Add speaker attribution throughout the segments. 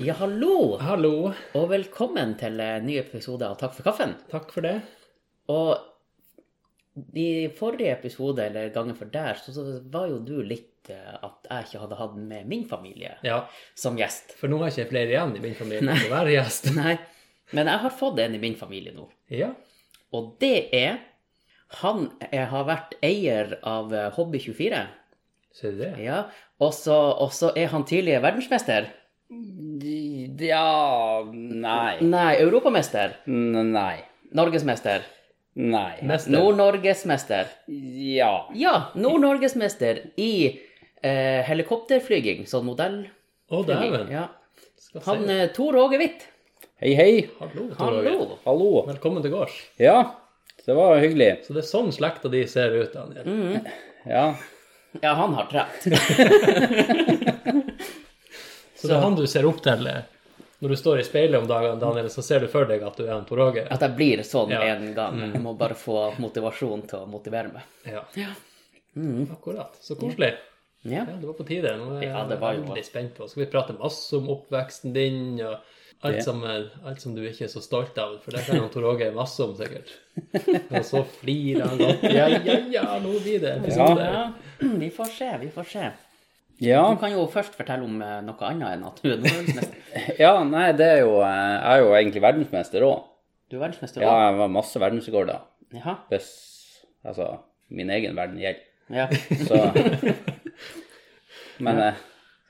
Speaker 1: Ja, hallo,
Speaker 2: Hallo.
Speaker 1: og velkommen til eh, ny episode av Takk for kaffen.
Speaker 2: Takk for det.
Speaker 1: Og i forrige episode, eller gangen for der, så så var jo du litt eh, at jeg ikke hadde hatt med min familie
Speaker 2: Ja,
Speaker 1: som gjest.
Speaker 2: for nå har jeg ikke flere igjen i min familie til å være gjest.
Speaker 1: Nei, men jeg har fått en i min familie nå.
Speaker 2: Ja.
Speaker 1: Og det er Han eh, har vært eier av eh, Hobby24.
Speaker 2: Ser du det?
Speaker 1: Ja, og så, og så er han tidligere verdensmester.
Speaker 3: Ja Nei.
Speaker 1: Nei, europamester.
Speaker 3: N- Nei.
Speaker 1: Norgesmester.
Speaker 3: Nei.
Speaker 2: Mester.
Speaker 1: Nord-Norgesmester.
Speaker 3: Ja.
Speaker 1: Ja, Nord-Norgesmester i eh, helikopterflyging, sånn modell.
Speaker 2: Å, dæven.
Speaker 1: Ja.
Speaker 2: Skal se.
Speaker 1: Han eh, Tor Åge Hvitt.
Speaker 3: Hei, hei.
Speaker 2: Hallo, Tor Åge.
Speaker 1: Hallo.
Speaker 3: Hallo.
Speaker 2: Velkommen til gårds.
Speaker 3: Ja, det var hyggelig.
Speaker 2: Så det er sånn slekta di ser ut, Daniel.
Speaker 3: Ja.
Speaker 1: Ja, han har trent.
Speaker 2: Så det er han du ser opp til. eh, Når du står i speilet om dagene, Daniel, så ser du for deg at du er en Tor Åge.
Speaker 1: At jeg blir sånn
Speaker 2: Ja.
Speaker 1: en gang. Jeg må bare få motivasjon til å motivere meg.
Speaker 2: Ja. Akkurat. Så koselig.
Speaker 1: Ja.
Speaker 2: Ja, det var på tide. Nå er
Speaker 1: Ja,
Speaker 2: jeg
Speaker 1: det var jo-
Speaker 2: veldig spent på. Skal vi prate masse om oppveksten din og alt,
Speaker 3: Det-
Speaker 2: som, er, alt som du ikke er så stolt av? For det kan han Tor Åge masse om, sikkert. Og så flirer han godt. Ja, ja, ja, nå blir det episode.
Speaker 1: Ja, vi får se, vi får se. Du
Speaker 3: Ja,
Speaker 1: kan jo først fortelle om eh, noe annet enn at du er Nord-Norgesmester.
Speaker 3: ja nei, det er jo eh, Jeg er jo egentlig verdensmester òg.
Speaker 1: Du er verdensmester
Speaker 3: Ja,
Speaker 1: òg?
Speaker 3: jeg var masse verdensrekorder.
Speaker 1: Ja.
Speaker 3: Hvis altså min egen verden gjelder.
Speaker 1: ja.
Speaker 3: Så Men eh,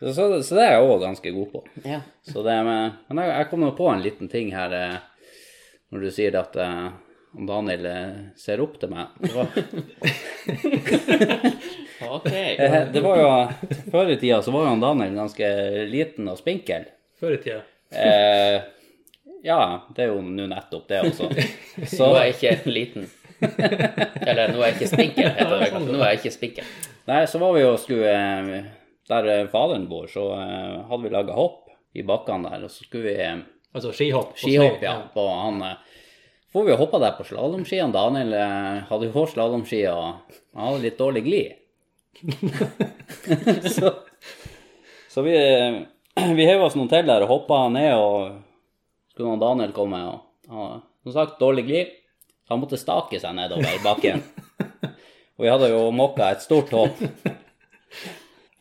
Speaker 3: så, så, så det er jeg òg ganske god på.
Speaker 1: ja.
Speaker 3: Så det med, men jeg, jeg kom jo på en liten ting her eh, når du sier at eh, om Daniel eh, ser opp til meg. Det var,
Speaker 1: Ok.
Speaker 3: eh, det var jo, Før i tida så var jo han Daniel ganske liten og spinkel.
Speaker 2: Før i tida.
Speaker 3: Eh, ja, det er jo nå nettopp det også. Så
Speaker 1: Nå er jeg ikke liten. Eller nå er jeg ikke spinkel, heter det. Nå er jeg ikke spinkel.
Speaker 3: Nei, så var vi jo skulle eh, Der eh, faderen bor, så eh, hadde vi laga hopp i bakkene der, og så skulle vi eh,
Speaker 2: Altså skihopp. på
Speaker 3: Skihopp,
Speaker 2: snø.
Speaker 3: ja. På han eh, Får vi hoppa der på slalåmski. han Daniel eh, hadde jo også slalåmski, og han hadde litt dårlig glid. så så vi, eh, vi heiv oss noen til der og hoppa ned, og skulle han Daniel komme. Og, han- som sagt, dårlig glid. Så han måtte stake seg nedover bakken. og vi hadde jo mokka et stort hopp.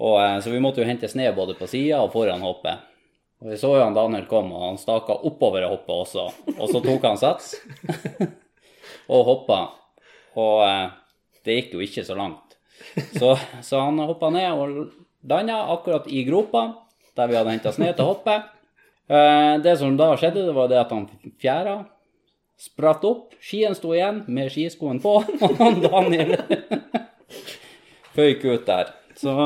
Speaker 3: Og, eh, så vi måtte jo hente sne både på sida og foran hoppet. Og Vi så jo han Daniel kom, og han staka oppover hoppet også. Og så tok han sats og hoppa. Og eh, det gikk jo ikke så langt. Så, så han hoppa ned og landa akkurat i gropa der vi hadde henta sne til hoppet. Eh, det som da skjedde, det var det at han fjæra spratt opp. Skien sto igjen med skiskoen på, og han Daniel føyk ut der. Så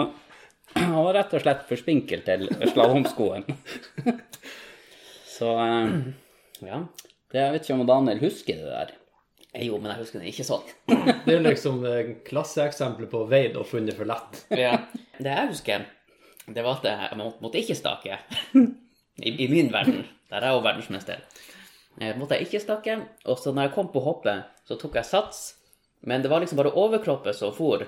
Speaker 3: han var rett og slett for spinkel til slalåmskoen. Så eh,
Speaker 1: Ja.
Speaker 3: det, jeg vet ikke om Daniel husker det der.
Speaker 1: Eh, Jo, men jeg husker det ikke sånn.
Speaker 2: Det er jo liksom eh, klasseeksempler på veid og funnet for lett.
Speaker 1: Det jeg husker, det var at jeg må- måtte ikke stake. I, i min verden. Der er jeg jo verdensmester. Eh, måtte jeg ikke stake. Og så når jeg kom på hoppet, så tok jeg sats. Men det var liksom bare overkroppet som for.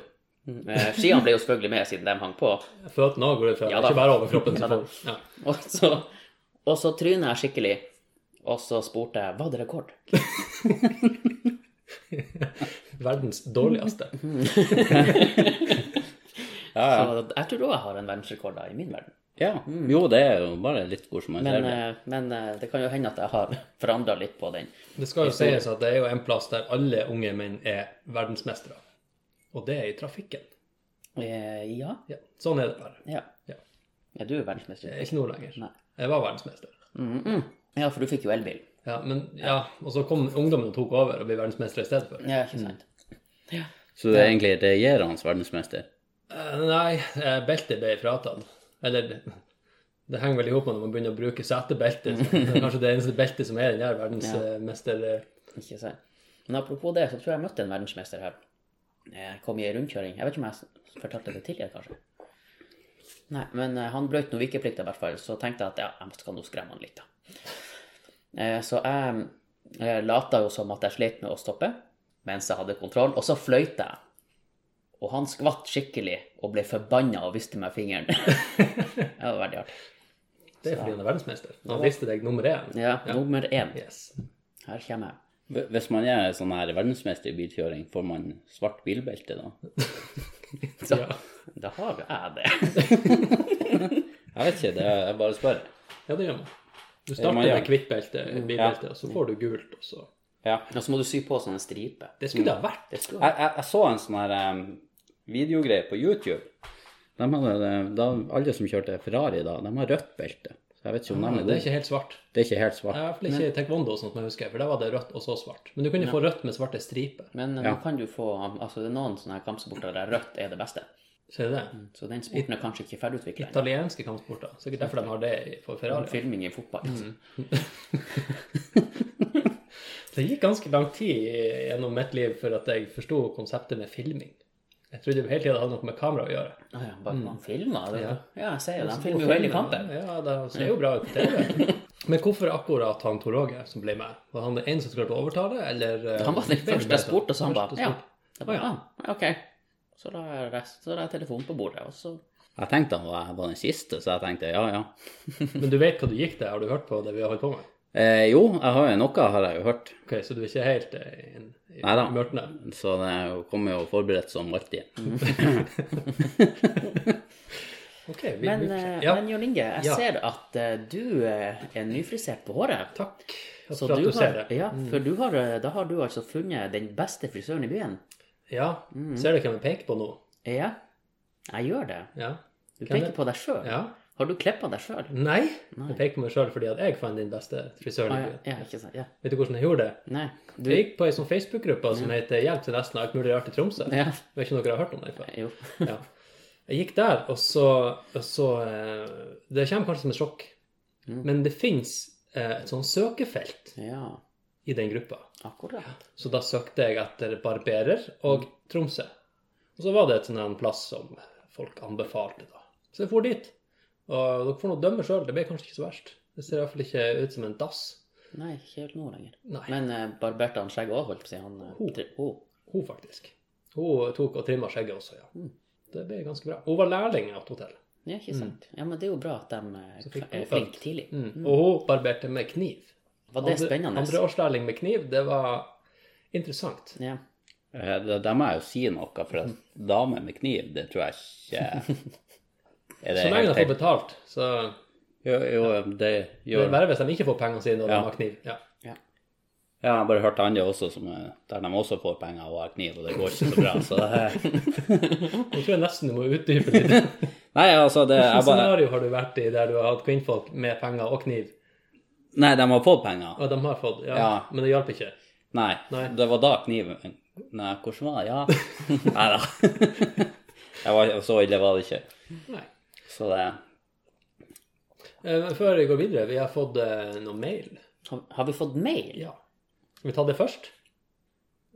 Speaker 1: Eh, Skiene ble jo selvfølgelig med, siden de hang på.
Speaker 2: Føttene òg går ut fra.
Speaker 1: Ja da.
Speaker 2: ikke bare overkroppen.
Speaker 1: Ja da.
Speaker 2: Så får- ja.
Speaker 1: Og så, og så tryna jeg skikkelig. Og så spurte jeg var det rekord.
Speaker 2: Verdens dårligste.
Speaker 3: Ja, ja.
Speaker 1: Så jeg tror òg jeg har en verdensrekord da, i min verden.
Speaker 3: ja. Mm. Jo, det er jo bare litt hvordan man
Speaker 1: Men,
Speaker 3: ser det.
Speaker 1: eh, men eh, det kan jo hende at jeg har forandra litt på den.
Speaker 2: Det skal jo sies at det er jo en plass der alle unge menn er verdensmestere. Og det er i trafikken.
Speaker 1: Eh, Ja.
Speaker 2: Ja, sånn er det bare.
Speaker 1: ja.
Speaker 2: Ja.
Speaker 1: Er du
Speaker 2: Jeg er
Speaker 1: verdensmester?
Speaker 2: Eh, Ikke nå lenger.
Speaker 1: Nei.
Speaker 2: Jeg var verdensmester.
Speaker 1: Mm -mm. Ja, for du fikk jo elbil.
Speaker 2: Ja, men ja, Og så kom ungdommen og tok over og ble verdensmester i stedet for.
Speaker 1: Ja, ikke sant?
Speaker 3: Så det er egentlig regjerende verdensmester.
Speaker 2: Eh, Nei, eh, beltet ble fratatt. Eller det henger vel i hop med når man begynner å bruke setebelte. så Det er kanskje det eneste beltet som er den der verdensmester...
Speaker 1: Ikke sant. Men apropos det, så tror jeg jeg møtte en verdensmester her. Jeg kom i en rundkjøring. Jeg vet ikke om jeg s- fortalte det tidligere, kanskje. Nei, men eh, han brøt noe vikeplikt i hvert fall, så tenkte jeg at ja, jeg skal nå skremme han litt, da. Eh, Så jeg, jeg lata jo som at jeg slet med å stoppe, mens jeg hadde kontroll, og så fløyta jeg. Og han skvatt skikkelig og ble forbanna og viste meg fingeren. det var veldig artig.
Speaker 2: Det er fordi han er verdensmester. Han lister deg nummer én.
Speaker 1: Ja, nummer én.
Speaker 2: Yes.
Speaker 1: Her kommer jeg.
Speaker 3: Hv- Hvis man er sånn her verdensmester i bilkjøring, får man svart bilbelte da?
Speaker 2: Ja.
Speaker 1: Da har jeg det.
Speaker 3: Jeg vet ikke, det er, jeg bare spør.
Speaker 2: ja, det gjør man. Du
Speaker 3: Ja,
Speaker 2: starter
Speaker 3: man gjør
Speaker 2: med hvitt belte, bilbelte, og så får du gult, og så
Speaker 3: Ja.
Speaker 1: Og så må du sy på sånne striper.
Speaker 2: Det skulle det ha vært.
Speaker 1: Det skulle
Speaker 3: Jeg, jeg, jeg så en sånn her em, videogreie på YouTube. De hadde, eh, da, alle som kjørte Ferrari da, de har rødt belte. Så jeg vet ikke om de er
Speaker 2: Det er
Speaker 3: gode.
Speaker 2: ikke helt svart.
Speaker 3: Ah, Det er ikke helt svart.
Speaker 2: Jeg har i hvert fall ikke taekwondo, sånn at jeg husker, for der var det rødt og så svart. Men du kunne få rødt med svarte striper.
Speaker 1: Men eh, nå kan du få Altså, det er noen sånne her kampsporter der rødt er det beste.
Speaker 2: Ser du det?
Speaker 1: Så den sporten er kanskje ikke ferdigutvikla.
Speaker 2: Italienske kampsporter. Sikkert derfor de har det i- for Ferrari.
Speaker 1: Filming i fotball.
Speaker 2: Mm.
Speaker 1: altså.
Speaker 2: Det gikk ganske lang tid gjennom mitt liv før at jeg forsto konseptet med filming. Jeg trodde jo hele tida det hadde noe med kamera å gjøre.
Speaker 1: Å ja, bare man filmer? det-
Speaker 2: Mm. Ja.
Speaker 1: Ja, jeg ser jo det. De filmer jo hele kampen.
Speaker 2: Ja, det ser jo bra ut på TV. Men hvorfor akkurat han Tor Åge som ble med? Var han den eneste som klarte å overtale, eller eh,
Speaker 1: Han var den første jeg spurte, og så han bare
Speaker 2: Første
Speaker 1: Ja.
Speaker 2: spurt.
Speaker 1: Jeg bare,
Speaker 2: Å, ja.
Speaker 1: ah, ok. Så la jeg rest, så la jeg telefonen på bordet, og så
Speaker 3: Jeg tenkte han var, var den siste, så jeg tenkte ja, ja.
Speaker 2: Men du vet hva du gikk til? Har du hørt på det vi har holdt på med?
Speaker 3: Eh, jo, jeg har jo noe, har jeg jo hørt.
Speaker 2: Ok, Så du er ikke helt eh, i, i
Speaker 3: Neida.
Speaker 2: mørtene?
Speaker 3: Så det er jo- kommer jo forberedt som alltid.
Speaker 2: Ok, vi,
Speaker 1: Men,
Speaker 2: vi får se.
Speaker 1: eh,
Speaker 2: ja,
Speaker 1: men Jon Inge, jeg
Speaker 2: Ja.
Speaker 1: ser at eh, du eh, er nyfrisert på håret.
Speaker 2: Takk
Speaker 1: Så
Speaker 2: for at
Speaker 1: du
Speaker 2: du ser
Speaker 1: har,
Speaker 2: det. Mm.
Speaker 1: ja, for du har, eh, da har du altså funnet den beste frisøren i byen? Mm.
Speaker 2: Ja, Ser du hvem jeg peker på nå?
Speaker 1: Ja, jeg gjør det.
Speaker 2: Ja.
Speaker 1: Du
Speaker 2: Hvem er-
Speaker 1: peker på deg sjøl.
Speaker 2: ja.
Speaker 1: Har du klippa deg sjøl?
Speaker 2: Nei, jeg peker på meg sjøl fordi at jeg fant din beste frisør i
Speaker 1: Ah, ja.
Speaker 2: byen.
Speaker 1: ja, ikke sant. Ja.
Speaker 2: Vet du hvordan jeg gjorde det?
Speaker 1: Nei, du
Speaker 2: Jeg gikk på ei sånn Facebook-gruppe som heter 'Hjelp til nesten alt mulig rart i Tromsø'.
Speaker 1: Ja,
Speaker 2: Jeg vet ikke om dere har hørt om den før.
Speaker 1: jo.
Speaker 2: Ja. Jeg gikk der, og så, og så eh, Det kommer kanskje som et sjokk,
Speaker 1: Mm.
Speaker 2: men det fins et sånn søkefelt
Speaker 1: Ja,
Speaker 2: i den gruppa.
Speaker 1: akkurat.
Speaker 2: Så da søkte jeg etter barberer og Tromsø. Og så var det et sånn en plass som folk anbefalte, da. Så jeg for dit. Og dere får nå dømme sjøl, det ble kanskje ikke så verst. Det ser i hvert fall ikke ut som en dass.
Speaker 1: Nei, ikke helt nå lenger.
Speaker 2: Nei.
Speaker 1: Men eh, barberte han skjegget òg, holdt på å si? Han eh,
Speaker 2: Ho.
Speaker 1: tri- ho.
Speaker 2: Hun faktisk. Hun tok og trimma skjegget også, ja. Det ble ganske bra. Hun var lærling i et hotell.
Speaker 1: Ja, ikke sant. Ja, men det er jo bra at de eh,
Speaker 2: Mm. Så fikk
Speaker 1: er
Speaker 2: hun
Speaker 1: flinke
Speaker 2: født.
Speaker 1: tidlig.
Speaker 2: Mm. Og hun barberte med kniv.
Speaker 1: Var det
Speaker 2: Andre-
Speaker 1: spennende?
Speaker 2: Andreårslærling med kniv, det var interessant.
Speaker 1: Ja.
Speaker 3: Eh, det- Der må jeg jo si noe, for en dame med kniv, det tror jeg ikke er det
Speaker 2: Så lenge de
Speaker 3: helt
Speaker 2: får
Speaker 3: helt...
Speaker 2: betalt, så
Speaker 3: Jo, jo, det
Speaker 2: det er
Speaker 3: gjør
Speaker 2: bare hvis de ikke får pengene sine når
Speaker 3: Ja.
Speaker 2: de har kniv. Ja.
Speaker 3: Ja, jeg har bare hørt andre også, som, eh, der de også får penger og har kniv, og det går ikke så bra, så det
Speaker 2: Nå tror jeg nesten du må utdype litt.
Speaker 3: Nei, altså, det
Speaker 2: Hvilket
Speaker 3: jeg bare
Speaker 2: scenario har du vært i der du har hatt kvinnfolk med penger og kniv,
Speaker 3: Nei, de har fått penger.
Speaker 2: og de har fått? Ja,
Speaker 3: Ja.
Speaker 2: Men det hjalp ikke.
Speaker 3: Nei,
Speaker 2: Nei.
Speaker 3: det var da kniven Nei, hvordan var det? Ja. Nei da. Jeg var, så ille var det ikke.
Speaker 2: Nei.
Speaker 3: Så det
Speaker 2: Eh, Før vi går videre, vi har fått eh, noe mail.
Speaker 1: Har, har vi fått mail?
Speaker 2: Ja. Skal vi ta det først?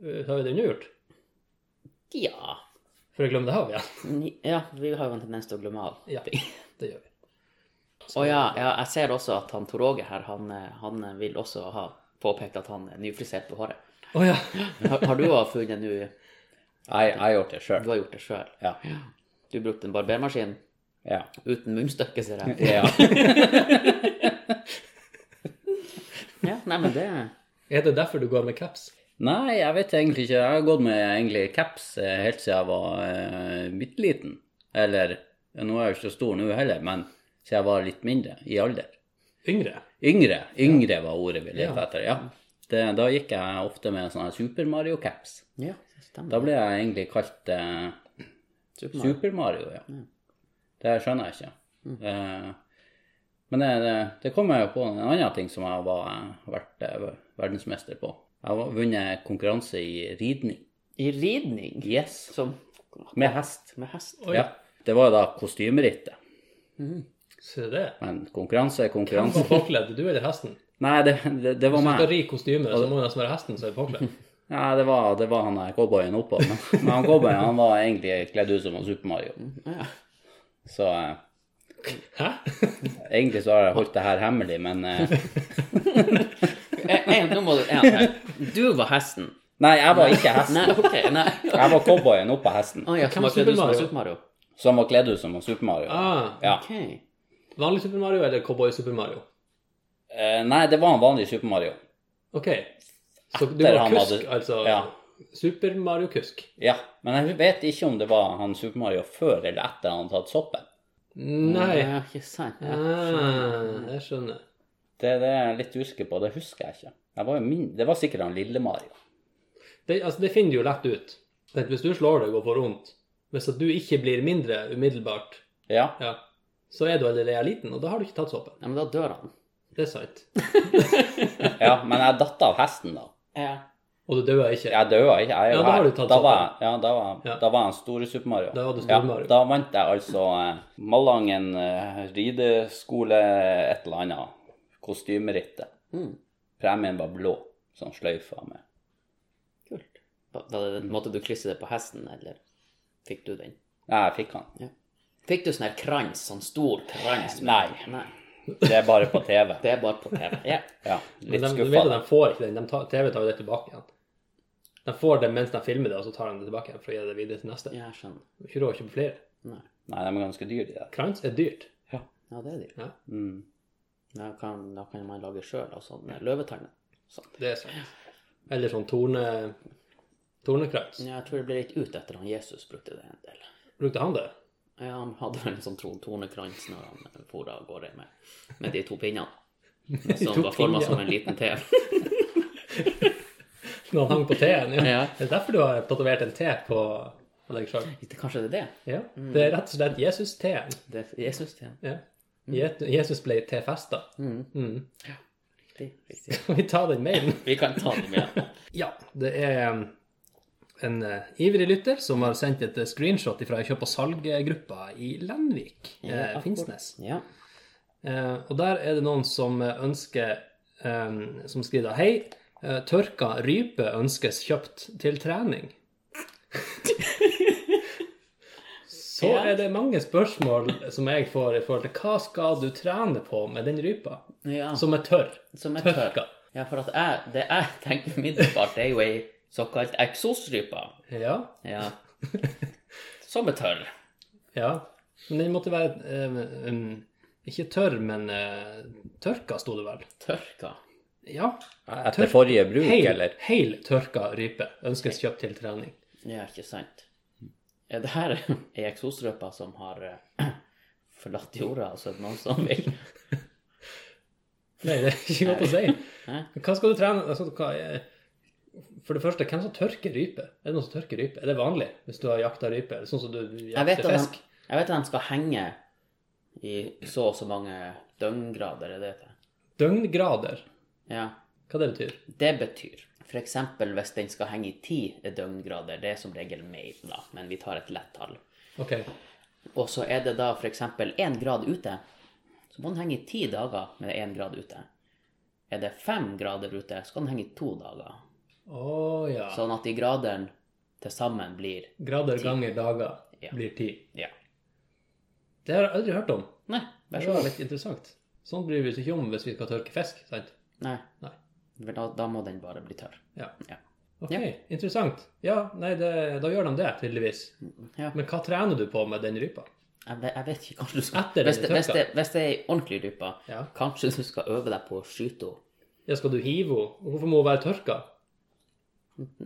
Speaker 2: Eh, Har vi det nå gjort?
Speaker 1: Ja.
Speaker 2: For jeg glemmer det her igjen.
Speaker 1: Ni- Ja, vi har jo en tendens til å glemme alt.
Speaker 2: Ja, det gjør vi.
Speaker 1: Å ja, ja, jeg ser også at han Tor Åge her, han, eh, han vil også ha påpekt at han er nyfrisert på håret.
Speaker 2: Å ja.
Speaker 1: Har, har du òg funnet nå
Speaker 3: Jeg jeg har gjort det sjøl.
Speaker 1: Du har gjort det sjøl.
Speaker 3: Ja.
Speaker 1: Du brukte en barbermaskin
Speaker 3: Ja.
Speaker 1: uten munnstykke, ser jeg.
Speaker 3: ja.
Speaker 1: Ja, nei, men det
Speaker 2: Er det derfor du går med caps?
Speaker 3: Nei, jeg vet egentlig ikke. Jeg har gått med egentlig caps eh, helt siden jeg var eh, bitte liten. Eller ja, Nå er jeg jo ikke så stor nå heller, men siden jeg var litt mindre i alder.
Speaker 2: Yngre?
Speaker 3: Yngre. Yngre var ordet vi lette
Speaker 2: Ja.
Speaker 3: etter. Ja. Det, da gikk jeg ofte med sånne Super Mario-caps.
Speaker 1: Ja,
Speaker 3: Da
Speaker 1: stemmer.
Speaker 3: ble jeg egentlig kalt eh,
Speaker 1: Super Mario. Mm.
Speaker 3: Super Mario, ja. Det skjønner jeg ikke. Eh, men det, det- det kom jeg jo på en annen ting som jeg var, har vært eh, verdensmester på. Jeg har vunnet konkurranse i ridning.
Speaker 1: I ridning,
Speaker 3: Yes.
Speaker 1: som
Speaker 3: Med hest.
Speaker 1: med hest.
Speaker 2: Oi.
Speaker 3: Ja. Det var jo da kostymerittet.
Speaker 2: Se det.
Speaker 3: Men konkurranse er
Speaker 2: Hvem
Speaker 3: konkurranse.
Speaker 2: var påkledd? Du eller hesten?
Speaker 3: Nei, det, det, det var
Speaker 2: Hvis du skal
Speaker 3: meg.
Speaker 2: ri kostyme, så må det nesten være hesten som er påkledd.
Speaker 3: Nei, det var, det var han der cowboyen oppå. Men, men han cowboyen han var egentlig kledd ut som han Super Mario.
Speaker 1: Ja.
Speaker 3: Så eh,
Speaker 2: Hæ?
Speaker 3: egentlig så har jeg holdt det her hemmelig, men eh,
Speaker 1: Eh, eh, nå må du en til. Du var hesten.
Speaker 3: Nei, jeg var ikke hesten.
Speaker 1: Nei, OK. Nei.
Speaker 3: Jeg var cowboyen oppå hesten.
Speaker 1: Å ja,
Speaker 2: Hvem
Speaker 1: hvem var
Speaker 2: er
Speaker 1: det du
Speaker 2: Super
Speaker 1: som var
Speaker 2: Mario?
Speaker 1: Super Mario?
Speaker 3: Som var kledd ut som en Super Mario.
Speaker 2: Ah,
Speaker 3: Ja.
Speaker 1: Ok.
Speaker 2: Vanlig Super Mario eller Cowboy Super Mario?
Speaker 3: Eh, nei, det var en vanlig Super Mario.
Speaker 2: OK. Så du
Speaker 3: Etter
Speaker 2: var
Speaker 3: han
Speaker 2: kusk,
Speaker 3: hadde-
Speaker 2: altså?
Speaker 3: ja.
Speaker 2: Super Mario-kusk?
Speaker 3: Ja, men jeg vet ikke om det var han Super Mario før eller etter han hadde tatt soppen.
Speaker 2: Nei.
Speaker 1: Ja, ikke sant. Ja.
Speaker 2: Ah, jeg skjønner.
Speaker 3: Det, det er jeg litt usikker på, det husker jeg ikke. Jeg var jo min, det var sikkert han lille Mario.
Speaker 2: Det, altså, det finner du jo lett ut. Men hvis du slår deg og får vondt, hvis at du ikke blir mindre umiddelbart,
Speaker 3: Ja,
Speaker 2: ja, så er du allerede liten, og da har du ikke tatt såpen.
Speaker 1: ja, men da dør han.
Speaker 2: Det er sant.
Speaker 3: ja men jeg datt av hesten da.
Speaker 1: Ja.
Speaker 2: Og du døde ikke.
Speaker 3: Jeg døde ikke. Jeg, er
Speaker 2: Ja,
Speaker 3: jo
Speaker 2: da har
Speaker 3: her.
Speaker 2: du tatt
Speaker 3: da
Speaker 2: soppen.
Speaker 3: var, jeg- ja, da var,
Speaker 2: Ja.
Speaker 3: da var han store Super Mario.
Speaker 2: Da var du store
Speaker 3: ja,
Speaker 2: Mario.
Speaker 3: Da vant jeg altså eh, Malangen eh, rideskole et eller annet kostymerittet.
Speaker 1: Mm.
Speaker 3: Premien var blå, sånn sløyfa med.
Speaker 1: Kult. Da, da måtte du klisse det på hesten, eller fikk du den?
Speaker 3: Nei, jeg fikk han.
Speaker 1: Fikk du sånn her krans, sånn stor krans?
Speaker 3: Nei.
Speaker 1: Nei.
Speaker 3: Det er bare på TV.
Speaker 1: Det er bare på TV. Ja.
Speaker 3: Ja,
Speaker 2: Men
Speaker 3: litt
Speaker 2: de, du
Speaker 3: skuffa.
Speaker 2: vet at de får ikke den. De tar, TV tar jo det tilbake igjen. De får det mens de filmer det, og så tar de det tilbake igjen for å gi det videre til neste.
Speaker 1: ja, jeg skjønner.
Speaker 2: Du har Ikke råd å kjøpe flere.
Speaker 1: Nei.
Speaker 3: Nei, de er ganske dyre, de der.
Speaker 2: Krans er dyrt.
Speaker 1: Ja, det er dyrt.
Speaker 3: Mm.
Speaker 1: Da kan, da kan man lage sjøl, altså sånn løvetann. Sånn.
Speaker 2: Det er sant. Eller sånn torne... Tornekrans.
Speaker 1: Ja, jeg tror det ble litt ut etter han Jesus brukte det en del.
Speaker 2: Brukte han det?
Speaker 1: Ja, han hadde vel en sånn tro- tornekrans når han for av gårde med, med de to pinnene. Som
Speaker 2: to
Speaker 1: var forma
Speaker 2: pinner.
Speaker 1: som en liten T.
Speaker 2: Når han hang på T-en? Ja.
Speaker 1: Ja.
Speaker 2: Det er derfor du har tatovert en T på på deg sjøl?
Speaker 1: Kanskje det er det?
Speaker 2: Ja. Det er rett og slett Jesus-T-en.
Speaker 1: det er Jesus-T.
Speaker 2: Ja. Je- Jesus ble T-festa. Mm.
Speaker 1: Riktig. riktig.
Speaker 2: Kan vi ta den mailen?
Speaker 1: Vi kan ta den med.
Speaker 2: Ja, det er um, en eh, ivrig lytter som har sendt et eh, screenshot fra kjøp- og salggruppa i Lenvik, eh,
Speaker 1: akkurat.
Speaker 2: Finnsnes.
Speaker 1: Ja.
Speaker 2: Eh, og der er det noen som eh, ønsker eh, Som skriver da Hei, eh, tørka rype ønskes kjøpt til trening. Så
Speaker 1: Ja.
Speaker 2: er det mange spørsmål som jeg får i forhold til hva skal du trene på med den rypa
Speaker 1: ja.
Speaker 2: som er tørr?
Speaker 1: Som er
Speaker 2: Tørka.
Speaker 1: tørr. Ja, for at jeg, det jeg tenker umiddelbart, det er jo ei såkalt eksosrype.
Speaker 2: Ja.
Speaker 1: Ja. Som er tørr.
Speaker 2: ja. Men den måtte være eh, um, Ikke tørr, men eh, tørka, sto det vel.
Speaker 1: Tørka.
Speaker 2: Ja.
Speaker 3: Etter forrige bruk,
Speaker 2: Heil,
Speaker 3: eller?
Speaker 2: heil tørka rype ønskes kjøpt til trening.
Speaker 1: Ja, ikke sant. Ja, det her er ei eksosrype som har eh, forlatt jorda, altså noen som vil
Speaker 2: Nei, det er ikke godt å si.
Speaker 1: Hæ?
Speaker 2: Men Hva skal du trene? Altså, hva er... For det første, hvem som tørker rype? Er det noen som tørker rype? Er det vanlig hvis du har jakta rype? Er det sånn som du
Speaker 1: Jeg vet,
Speaker 2: jakter
Speaker 1: at
Speaker 2: fisk?
Speaker 1: de, jeg vet at de skal henge i så og så mange døgngrader, er det det?
Speaker 2: Døgngrader,
Speaker 1: Ja.
Speaker 2: hva det betyr?
Speaker 1: Det betyr f.eks. hvis den skal henge i ti døgngrader, det er som regel mer, da, men vi tar et lett tall.
Speaker 2: Ok,
Speaker 1: Og så er det da f.eks. én grad ute, så må den henge i ti dager med én grad ute. Er det fem grader ute, så kan den henge i to dager.
Speaker 2: å ja.
Speaker 1: Sånn at de gradene til sammen blir
Speaker 2: Grader ganger dager
Speaker 1: Ja.
Speaker 2: blir ti.
Speaker 1: Ja.
Speaker 2: Det har jeg aldri hørt om.
Speaker 1: Nei, vær
Speaker 2: Det
Speaker 1: så
Speaker 2: var
Speaker 1: god.
Speaker 2: litt interessant. Sånn bryr vi oss ikke om hvis vi skal tørke fisk, sant?
Speaker 1: Nei.
Speaker 2: Nei.
Speaker 1: For Da, da må den bare bli tørr.
Speaker 2: Ja.
Speaker 1: Ja.
Speaker 2: Ok, interessant. Ja, nei, det, da gjør de det, tydeligvis.
Speaker 1: Ja.
Speaker 2: Men hva trener du på med den rypa?
Speaker 1: Jeg, ve- jeg vet ikke kanskje du skal
Speaker 2: Etter den
Speaker 1: hvis, det,
Speaker 2: er
Speaker 1: hvis,
Speaker 2: tørka.
Speaker 1: det, hvis det er ei ordentlig rype,
Speaker 2: Ja.
Speaker 1: kanskje du skal øve deg på å skyte henne.
Speaker 2: Ja, skal du hive henne? Hvorfor må hun være tørka?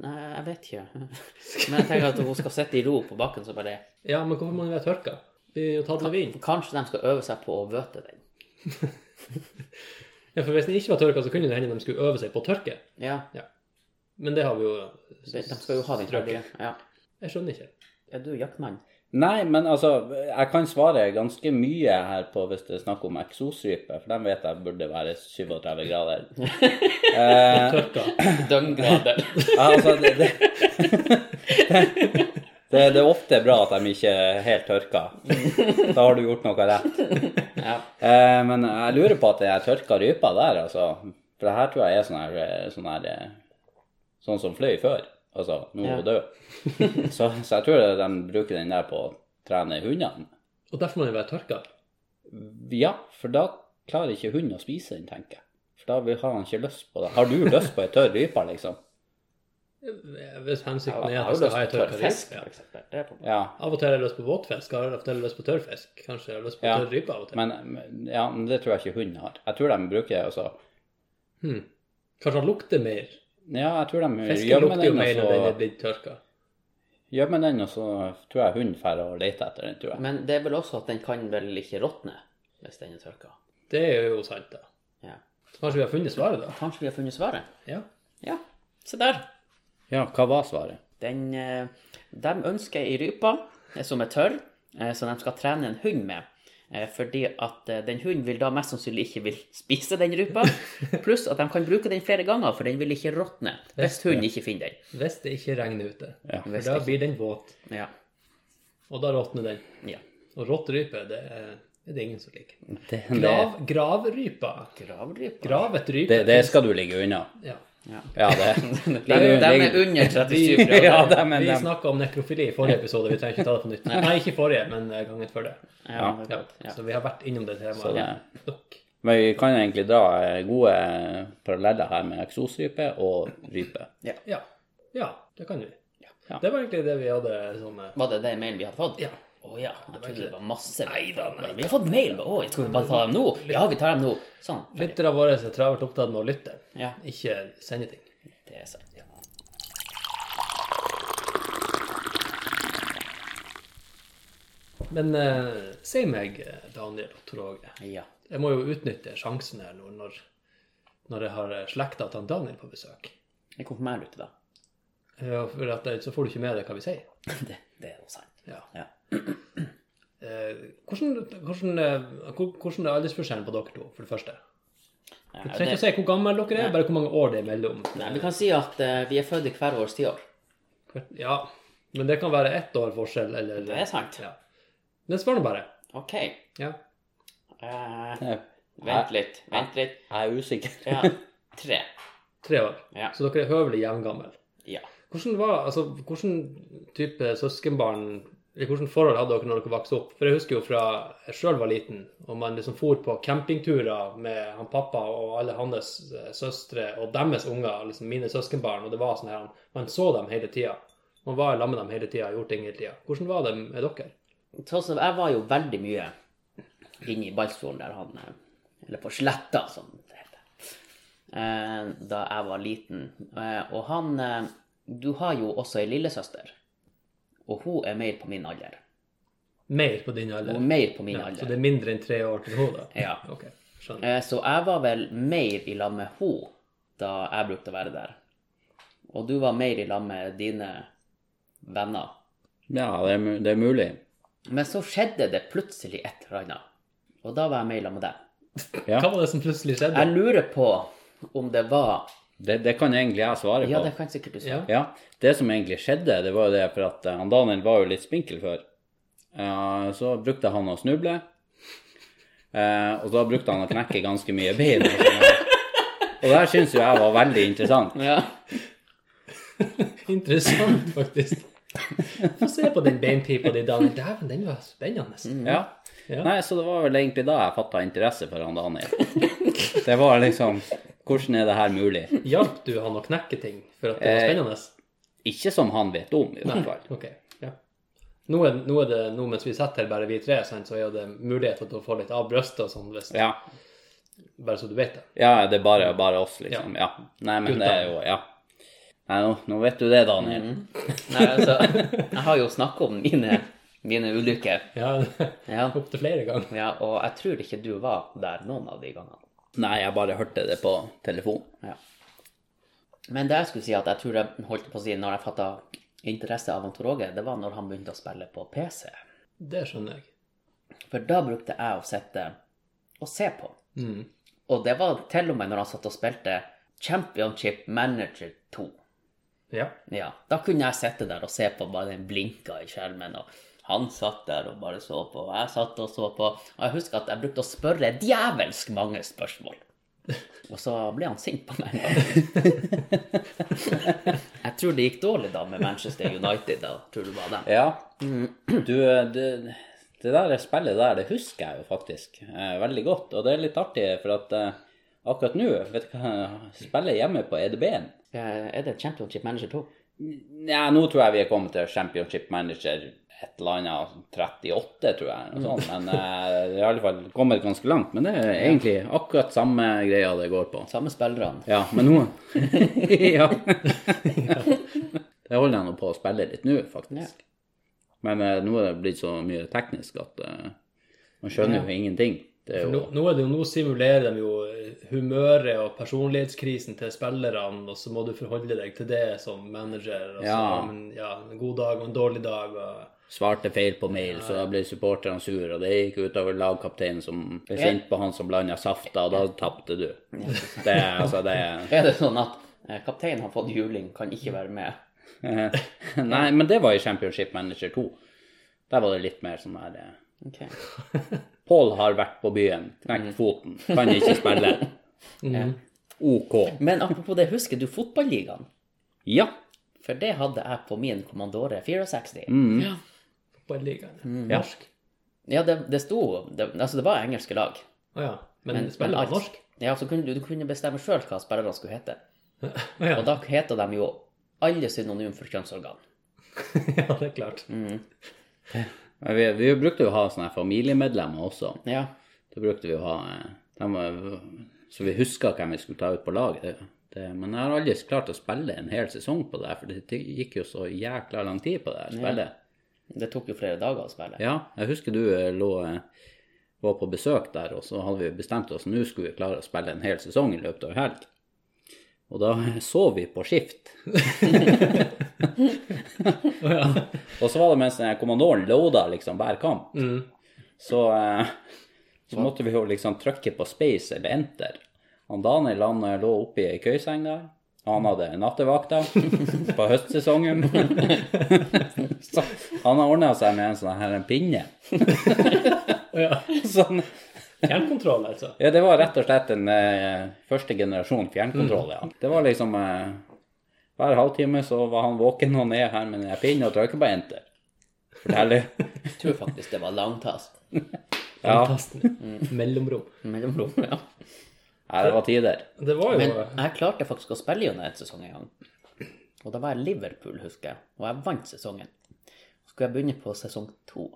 Speaker 1: Nei, jeg vet ikke. Men jeg tenker at hun skal sitte i ro på bakken, så bare
Speaker 2: Ja, men hvorfor må den være tørka? Blir jo tatt med vind.
Speaker 1: Kanskje de skal øve seg på å vøte den.
Speaker 2: Ja, for hvis den ikke var tørka, så kunne det hende de skulle øve seg på å tørke.
Speaker 1: Ja,
Speaker 2: Men det har vi jo
Speaker 1: de, de skal jo ha den
Speaker 2: strøket.
Speaker 1: ferdige. Ja.
Speaker 2: Jeg skjønner ikke.
Speaker 1: Er du jaktmann?
Speaker 3: Nei, men altså, jeg kan svare ganske mye her på hvis det er snakk om eksosrype, for den vet jeg burde være 37 grader. eh,
Speaker 2: Tørka.
Speaker 1: Døgngrader.
Speaker 3: altså, det, det, det, det er ofte bra at de ikke er helt tørka. Da har du gjort noe rett.
Speaker 1: Ja.
Speaker 3: Eh, men jeg lurer på at jeg tørka rypa der, altså. For det her tror jeg er sånn her, eh, sånn, her eh, sånn som fløy før. Altså, nå er hun død. så, så jeg tror de bruker den der på å trene hundene.
Speaker 2: Og derfor må den være tørka.
Speaker 3: Ja, for da klarer ikke hunden å spise den, tenker jeg. For da vil- har han ikke lyst på det. Har du lyst på ei tørr rype, liksom?
Speaker 2: Hvis hensikten
Speaker 1: Jeg
Speaker 2: er
Speaker 1: har
Speaker 2: at jeg
Speaker 1: jo
Speaker 2: skal
Speaker 1: lyst
Speaker 2: ha ei
Speaker 1: på
Speaker 2: tørr fisk.
Speaker 1: tørrfisk,
Speaker 2: Ja.
Speaker 1: for eksempel. Det er problemet.
Speaker 3: Ja,
Speaker 2: Av og til har jeg lyst på våtfisk, av og til har jeg lyst på tørrfisk. Kanskje jeg har lyst på
Speaker 3: Ja.
Speaker 2: tørr ribbe av og til.
Speaker 3: men, men- ja, men det tror jeg ikke hunden har. Jeg tror de bruker altså
Speaker 2: Hmm. Kanskje han lukter mer.
Speaker 3: Ja, jeg tror de
Speaker 2: Fisken
Speaker 3: gjemmer
Speaker 2: lukter jo
Speaker 3: den,
Speaker 2: mer når den er
Speaker 3: og så
Speaker 2: blitt tørka.
Speaker 3: gjemmer den, og så tror jeg hunden drar og leter etter den, tror jeg.
Speaker 1: Men det er vel også at den kan vel ikke råtne hvis den er tørka.
Speaker 2: Det er jo sant, da.
Speaker 1: Ja.
Speaker 2: Så Kanskje vi har funnet svaret, da?
Speaker 1: Kanskje vi har funnet svaret?
Speaker 2: Ja.
Speaker 1: Ja, se der.
Speaker 3: Ja, hva var svaret?
Speaker 1: Den, eh, de ønsker ei rype eh, som er tørr, eh, som de skal trene en hund med. Eh, Fordi at eh, den hunden vil da mest sannsynlig ikke vil spise den rypa. Pluss at de kan bruke den flere ganger, for den vil ikke råtne hvis hunden ikke finner den.
Speaker 2: Hvis det ikke regner ute.
Speaker 3: Ja.
Speaker 2: For
Speaker 1: Hvis
Speaker 2: da
Speaker 1: det ikke-
Speaker 2: blir den våt,
Speaker 1: Ja.
Speaker 2: og da råtner den.
Speaker 1: ja.
Speaker 2: Og råttrype, det er er det ingen som liker.
Speaker 3: Det, det,
Speaker 2: Grav, gravrypa.
Speaker 1: Gravrypa.
Speaker 2: Gravet rype.
Speaker 3: det, det skal du ligge unna.
Speaker 2: Ja.
Speaker 1: Ja.
Speaker 3: Ja, det
Speaker 1: De, de er under 37 grader.
Speaker 3: Ja, det, men eh,
Speaker 2: Vi
Speaker 3: de,
Speaker 2: snakka om nekrofili i forrige episode, vi trenger ikke ta det på nytt. Nei, ikke forrige, men eh, gangen før det.
Speaker 1: Ja, det er
Speaker 2: Ja.
Speaker 1: godt. Ja.
Speaker 2: Så vi har vært innom det
Speaker 3: Så
Speaker 2: temaet
Speaker 3: det-
Speaker 2: nok.
Speaker 3: Men vi kan egentlig dra eh, gode eh, paralleller her med eksosrype og rype.
Speaker 2: Ja. ja, det kan vi.
Speaker 3: Ja.
Speaker 2: Det var egentlig det vi hadde som eh,
Speaker 1: Var det den mailen vi hadde fått?
Speaker 2: Ja.
Speaker 1: Å ja. Jeg trodde det var masse.
Speaker 2: Neida, nei.
Speaker 1: Vi har fått mail! Å, jeg tror vi bare tar dem nå. Ja, vi tar dem nå. Sånn. ferdig.
Speaker 2: Lyttere våre er travelt opptatt med å lytte,
Speaker 1: Ja,
Speaker 2: ikke sende ting.
Speaker 1: det er sant.
Speaker 2: Men eh, si meg, eh, Daniel og Tor Åge,
Speaker 1: Ja.
Speaker 2: jeg må jo utnytte sjansen her nå når, når jeg har eh, slekta til han Daniel på besøk.
Speaker 1: Jeg konfirmerer du til deg.
Speaker 2: Ja, for at, eh, så får du ikke med deg hva vi sier.
Speaker 1: Det, det er jo sant.
Speaker 2: Ja.
Speaker 1: Ja.
Speaker 2: Eh, hvordan, hvordan, eh, hvor- hvordan er aldersforskjellen på dere to, for det første?
Speaker 1: Ja,
Speaker 2: Du
Speaker 1: det,
Speaker 2: trenger ikke å si hvor gammel dere er, bare hvor mange år det er mellom.
Speaker 1: nei, vi kan si at eh, vi er født i hver vårt tiår.
Speaker 2: Ja, men det kan være ett år forskjell, eller
Speaker 1: Det er sant.
Speaker 2: Ja. Men spør nå bare.
Speaker 1: OK.
Speaker 2: Ja.
Speaker 1: Eh,
Speaker 3: Jeg
Speaker 1: vent litt. Vent litt.
Speaker 3: jeg er usikker.
Speaker 1: Ja. Tre.
Speaker 2: Tre år.
Speaker 1: Ja.
Speaker 2: Så dere er høvelig jevngammel.
Speaker 1: Ja.
Speaker 2: Hvordan var, altså, hvordan type søskenbarn eller Hvordan forhold hadde dere når dere vokste opp? For jeg husker jo fra jeg sjøl var liten, og man liksom for på campingturer med han pappa og alle hans eh, søstre og deres unger, liksom mine søskenbarn, og det var sånn her Man så dem hele tida. Man var sammen med dem hele tida, gjorde ting hele tida. Hvordan var det med dere?
Speaker 1: Sånn som jeg var jo veldig mye inne i Balsfjorden der han eh, Eller på Sletta, som det heter. eh, Da jeg var liten. Eh, Og han eh, Du har jo også ei lillesøster. Og hun er mer på min alder.
Speaker 2: Mer på din
Speaker 1: Hun
Speaker 2: alder?
Speaker 1: er mer på min
Speaker 2: Ja, så
Speaker 1: alder.
Speaker 2: det er mindre enn tre år til henne, da?
Speaker 1: Ja.
Speaker 2: Ok, skjønner.
Speaker 1: Eh, Så jeg var vel mer i lag med hun da jeg brukte å være der. Og du var mer i lag med dine venner.
Speaker 3: Ja, det er, mu- det er mulig.
Speaker 1: Men så skjedde det plutselig et eller annet. Og da var jeg mer i lag med deg.
Speaker 2: Hva var det som plutselig skjedde?
Speaker 1: Jeg lurer på om det var
Speaker 3: Det, det kan egentlig jeg svare på.
Speaker 1: Ja, det kan sikkert du si.
Speaker 2: Ja.
Speaker 3: Ja, det som egentlig skjedde, det var jo det for at eh, han Daniel var jo litt spinkel før. Eh, så brukte han å snuble, eh, og da brukte han å knekke ganske mye bein. Og, sånn. og det her syns jo jeg var veldig interessant.
Speaker 1: Ja.
Speaker 2: Interessant, faktisk. Få se på den beinpipa di, Daniel. Dæven, den var spennende.
Speaker 3: Ja.
Speaker 2: Ja.
Speaker 3: Nei, så det var vel egentlig da jeg fatta interesse for han Daniel. Det var liksom Hvordan er det her mulig?
Speaker 2: Hjalp du han å knekke ting for at det var
Speaker 3: Eh.
Speaker 2: spennende?
Speaker 3: Ikke som han vet om, i hvert fall.
Speaker 2: Ok, ja. Nå, er, nå er det, nå mens vi sitter her, bare vi tre, sant, så er det muligheter til å få litt av brystet og sånn, hvis,
Speaker 3: Ja,
Speaker 2: bare så du vet det.
Speaker 3: ja det er bare, bare oss, liksom. Ja. Nei, men det er jo Ja. Nei, nå, nå vet du det, Daniel.
Speaker 1: Nei, altså, jeg har jo snakka om mine, mine ulykker.
Speaker 2: Ja,
Speaker 1: Ja.
Speaker 2: opptil flere ganger.
Speaker 1: ja, og jeg tror ikke du var der noen av de gangene.
Speaker 3: Nei, jeg bare hørte det på telefon.
Speaker 1: Ja. Men det jeg skulle si at jeg tror jeg holdt på å si når jeg fatta interesse av Antoroge, det var når han begynte å spille på PC.
Speaker 2: Det skjønner jeg.
Speaker 1: For da brukte jeg å sitte og se på.
Speaker 2: Mm.
Speaker 1: Og det var til og med når han satt og spilte Championship Manager 2.
Speaker 2: Ja.
Speaker 1: Ja, da kunne jeg sitte der og se på bare den blinka i skjermen, og han satt der og bare så på, og jeg satt og så på. Og jeg husker at jeg brukte å spørre djevelsk mange spørsmål. Og så ble han sint på meg en gang. Jeg tror det gikk dårlig da med Manchester United, da. Tror du var det?
Speaker 3: Ja. Du, det, det der spillet der, det husker jeg jo faktisk eh, veldig godt. Og det er litt artig, for at eh, Akkurat nå vet du hva, spiller jeg hjemme på E EDB-en.
Speaker 1: Eh, Er det Championship Manager 2?
Speaker 3: Nja, nå tror jeg vi er kommet til Championship Manager et eller annet 38, tror jeg. Og sånn. Men eh, det er i alle fall kommet ganske langt. Men det er egentlig akkurat samme greia det går på.
Speaker 1: Samme spillerne.
Speaker 3: Ja, men nå Ja. Det holder jeg nå på å spille litt nå, faktisk. Men eh, nå er det blitt så mye teknisk at eh, man skjønner jo ingenting. Det er
Speaker 2: Nå,
Speaker 3: jo
Speaker 2: nå, er det jo, nå simulerer de jo eh, humøret og personlighetskrisen til spillerne, og så må du forholde deg til det som manager. Og så,
Speaker 3: Ja.
Speaker 2: Men, ja, en god dag og en dårlig dag. Og,
Speaker 3: svarte feil på mail, så da ble supporterne sure, og det gikk utover lagkapteinen som ble sint på han som blanda safta, og da tapte du. Det er altså det er-
Speaker 1: Er det sånn at eh, kapteinen har fått juling, kan ikke være med?
Speaker 3: Nei, men det var i Championship Manager 2. Der var det litt mer sånn her eh,
Speaker 1: Ok.
Speaker 3: Pål har vært på byen, knekt foten, kan ikke spille. OK.
Speaker 1: Men apropos det, husker du fotballigaen?
Speaker 3: Ja.
Speaker 1: For det hadde jeg på min Commandore 64.
Speaker 2: ja. Fotballigaen. Norsk.
Speaker 1: Ja, det, det sto det, Altså, det var engelske lag.
Speaker 2: Å ja. Men,
Speaker 1: Men- men
Speaker 2: spiller
Speaker 1: alt-
Speaker 2: han norsk?
Speaker 1: Ja, så kunne du, du kunne bestemme sjøl hva spillerne skulle hete.
Speaker 2: Å ja.
Speaker 1: Og da heter de jo alle synonym for kjønnsorgan.
Speaker 2: ja, det er klart.
Speaker 3: Men Vi, vi brukte jo å ha sånne her familiemedlemmer også.
Speaker 1: Ja.
Speaker 3: Da brukte vi å ha eh, dem var- Så vi huska hvem vi skulle ta ut på laget. Det, det, men jeg har aldri klart å spille en hel sesong på det, her, for det t- gikk jo så jækla lang tid på det her spillet.
Speaker 1: Det tok jo flere dager å spille.
Speaker 3: Ja, jeg husker du eh, lå eh, var på besøk der, og så hadde vi bestemt oss nå skulle vi klare å spille en hel sesong i løpet av en helg. Og da sov vi på skift. og så var det mens eh, kommandoren loada liksom hver kamp.
Speaker 2: Mm.
Speaker 3: Så, eh, så måtte vi jo liksom trykke på space eller enter. Han Daniel han eh, lå oppi ei køyseng der. og Han hadde nattevakta på høstsesongen. Så han har ordna seg med en sånn her en pinne.
Speaker 2: Å ja.
Speaker 3: Sånn,
Speaker 2: Fjernkontroll, altså.
Speaker 3: ja, det var rett og slett en eh, første generasjon fjernkontroll,
Speaker 2: Mm.
Speaker 3: ja. Det var liksom eh, Hver halvtime så var han våken og ned her med en pinne og trykket på enter. Forteller.
Speaker 1: Jeg tror faktisk det var langtass.
Speaker 3: Ja,
Speaker 2: Fantastisk. Mellomrom.
Speaker 1: Mellomrom, ja.
Speaker 3: nei, det var tider.
Speaker 2: Det var jo
Speaker 1: Men jeg klarte faktisk å spille gjennom en sesong en gang. Og da var jeg Liverpool, husker jeg. Og jeg vant sesongen. Så skulle jeg begynne på sesong to.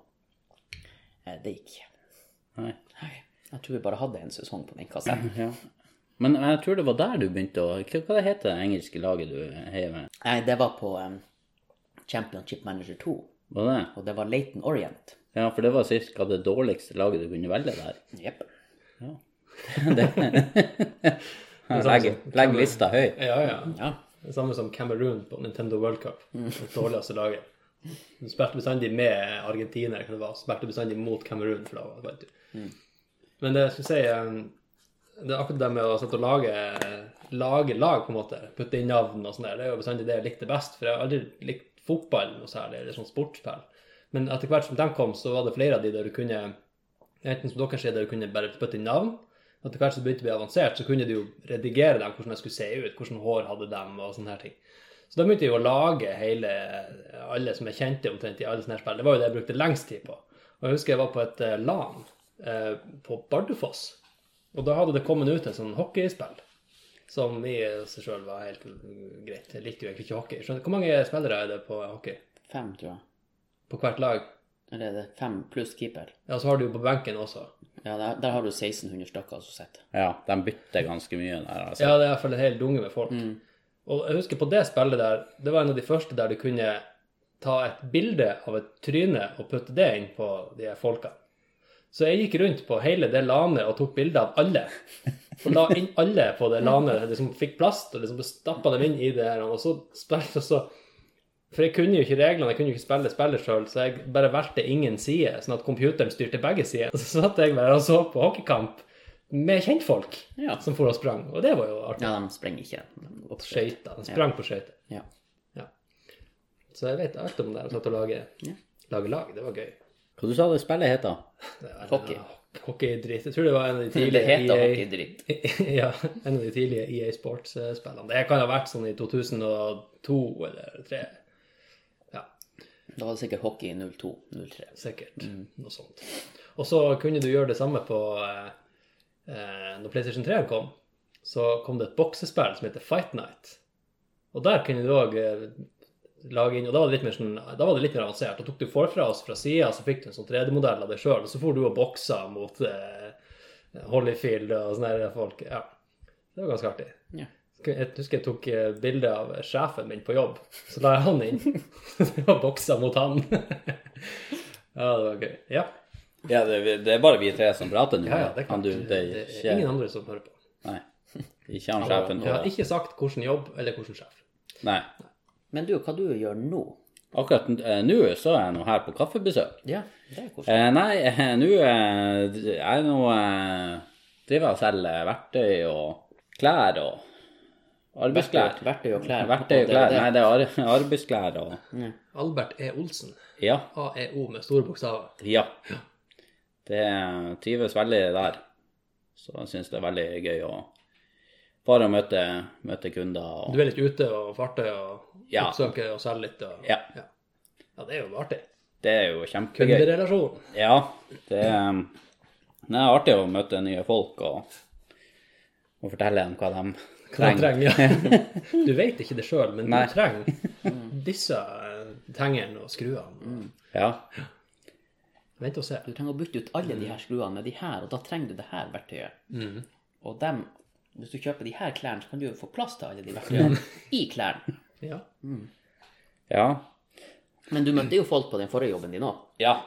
Speaker 1: Eh, Det gikk ikke.
Speaker 3: Nei.
Speaker 1: Nei. Jeg tror vi bare hadde en sesong på den kassa.
Speaker 3: Ja. Men jeg tror det var der du begynte å Hva hva det heter det engelske laget du heier med?
Speaker 1: Nei, det var på em, Championship Manager 2.
Speaker 3: Var det?
Speaker 1: Og det var Leighton Orient.
Speaker 3: Ja, for det var cirka det dårligste laget du kunne velge der.
Speaker 1: Jepp.
Speaker 3: Legg,
Speaker 2: sånn
Speaker 3: legg lista høyt.
Speaker 2: Ja, ja.
Speaker 1: Ja.
Speaker 2: Det samme som Cameroon på Nintendo World Cup. Det dårligste laget. Du spilte bestandig med Argentina, kan det være. Spilte bestandig mot Cameroon, for da vant du. Men det jeg skulle si eh, Det er akkurat det med å sette og lage, lage lag, på en måte. Putte inn navn og sånn der. Det er jo bestandig det jeg likte best, for jeg har aldri likt fotball noe særlig, eller sånn sportsspill. Men etter hvert som de kom, så var det flere av de der du kunne Enten som dere sier, der du kunne bare putte inn navn. Etter hvert som det begynte å bli avansert, så kunne du jo redigere dem, hvordan de skulle se ut, hvordan hår hadde dem, og sånne her ting. Så da begynte jeg jo å lage hele, alle som jeg kjente omtrent i alle sånne her spill. Det var jo det jeg brukte lengst tid på. Og jeg husker jeg var på et eh, LAN eh, på Bardufoss. Og da hadde det kommet ut et sånn hockeyspill som i seg sjøl var helt mm, greit. Jeg likte jo egentlig ikke hockey. Skjønner, hvor mange spillere er det på hockey?
Speaker 1: Fem, tror jeg.
Speaker 2: På hvert lag?
Speaker 1: Eller er det fem pluss keeper?
Speaker 2: Ja, så har du jo på benken også.
Speaker 1: Ja, der, der har du altså, 1600 stykker som sitter.
Speaker 3: Ja, de bytter ganske mye der, altså.
Speaker 2: Ja, det er i hvert fall en hel dunge med folk. Og jeg husker på det spillet der, det var en av de første der du kunne ta et bilde av et tryne og putte det inn på de her folka. Så jeg gikk rundt på hele det lanet og tok bilder av alle. Og la inn alle på det lanet, liksom fikk plast og liksom stappa dem inn i det her. Og så spilte og så For jeg kunne jo ikke reglene, jeg kunne jo ikke spille spillet sjøl, så jeg bare valgte ingen side, sånn at computeren styrte begge sider. Og så satt jeg bare og så på hockeykamp med kjentfolk
Speaker 1: Ja.
Speaker 2: som for og sprang, og det var jo artig.
Speaker 1: Ja, de springer ikke. De går på skøyter.
Speaker 2: Skøyter. Han sprang på skøyter.
Speaker 1: Ja.
Speaker 2: Så jeg vet alt om det. Jeg satt og lage,
Speaker 1: Ja.
Speaker 2: lage lag. Det var gøy.
Speaker 3: Hva du sa det spillet het, da?
Speaker 2: Det var-
Speaker 1: Hockey.
Speaker 2: Hockeydritt. Jeg tror det var en av de
Speaker 1: Det
Speaker 2: tidlige
Speaker 1: heter
Speaker 2: EA,
Speaker 1: hockeydritt.
Speaker 2: ja, en av de tidlige EA Sports-spillene. Det kan ha vært sånn i 2002 eller 2003,
Speaker 1: Da var det sikkert hockey i 02-03.
Speaker 2: sikkert. Noe sånt. Og så kunne du gjøre det samme på eh, eh, Når PlayStation 3 kom, så kom det et boksespill som heter Fight Night. Og der kunne du òg lage inn Og da var det litt mer, sånn, da var det litt mer avansert. Da tok du forfra oss fra sida, så fikk du en sånn 3D-modell av deg sjøl, og så for du og boksa mot eh, Hollyfield og sånne der folk. Ja. Det var ganske artig.
Speaker 1: Ja.
Speaker 2: Jeg husker jeg tok eh, bilde av sjefen min på jobb, så la jeg han inn. og boksa mot han. ja, det var gøy. Ja,
Speaker 3: Ja, det, det er bare vi tre som prater nå.
Speaker 2: ja, ja det er klart.
Speaker 3: Han, du, det er
Speaker 2: det
Speaker 3: ikke,
Speaker 2: er ingen andre som hører på.
Speaker 3: Nei. Ikke han sjefen.
Speaker 2: Jeg har
Speaker 3: og-
Speaker 2: ikke sagt hvilken jobb eller hvilken sjef.
Speaker 3: Nei.
Speaker 1: Men du, hva du gjør nå?
Speaker 3: Akkurat eh, nå så er jeg nå her på kaffebesøk.
Speaker 1: Ja, det er koselig.
Speaker 3: Eh, nei, eh, nå eh, jeg er nå eh, driver jeg og selger verktøy og klær og arbeidsklær.
Speaker 1: Verktøy, verktøy og klær.
Speaker 3: Verktøy og
Speaker 1: Det er
Speaker 3: klær.
Speaker 1: det.
Speaker 3: Nei, det er ar- arbeidsklær og
Speaker 2: Albert E. Olsen.
Speaker 3: Ja.
Speaker 2: AEO med store bokstaver.
Speaker 3: Ja. Det trives veldig der. Så jeg syns det er veldig gøy å bare møte, møte kunder og
Speaker 2: Du er litt ute og farter og
Speaker 3: Ja.
Speaker 2: oppsøker og selger litt. Og,
Speaker 3: Ja.
Speaker 2: ja. Ja, det er jo artig.
Speaker 3: Det er jo kjempegøy.
Speaker 2: Kunderelasjon.
Speaker 3: Ja. Det er, det er artig å møte nye folk og, og fortelle dem hva de
Speaker 2: Hva du
Speaker 3: trenger.
Speaker 2: trenger. Ja. Du vet ikke det sjøl, men
Speaker 3: Nei. Mm.
Speaker 2: du trenger disse eh, tengene og skruene.
Speaker 3: Ja.
Speaker 2: Vent og se.
Speaker 1: Du trenger å bytte ut alle de her skruene med de her, og da trenger du det her verktøyet. Og dem, hvis du kjøper de her klærne, så kan du jo få plass til alle de verktøyene i klærne.
Speaker 2: Ja.
Speaker 3: Ja.
Speaker 1: Men du møtte jo folk på den forrige jobben din òg.
Speaker 3: ja.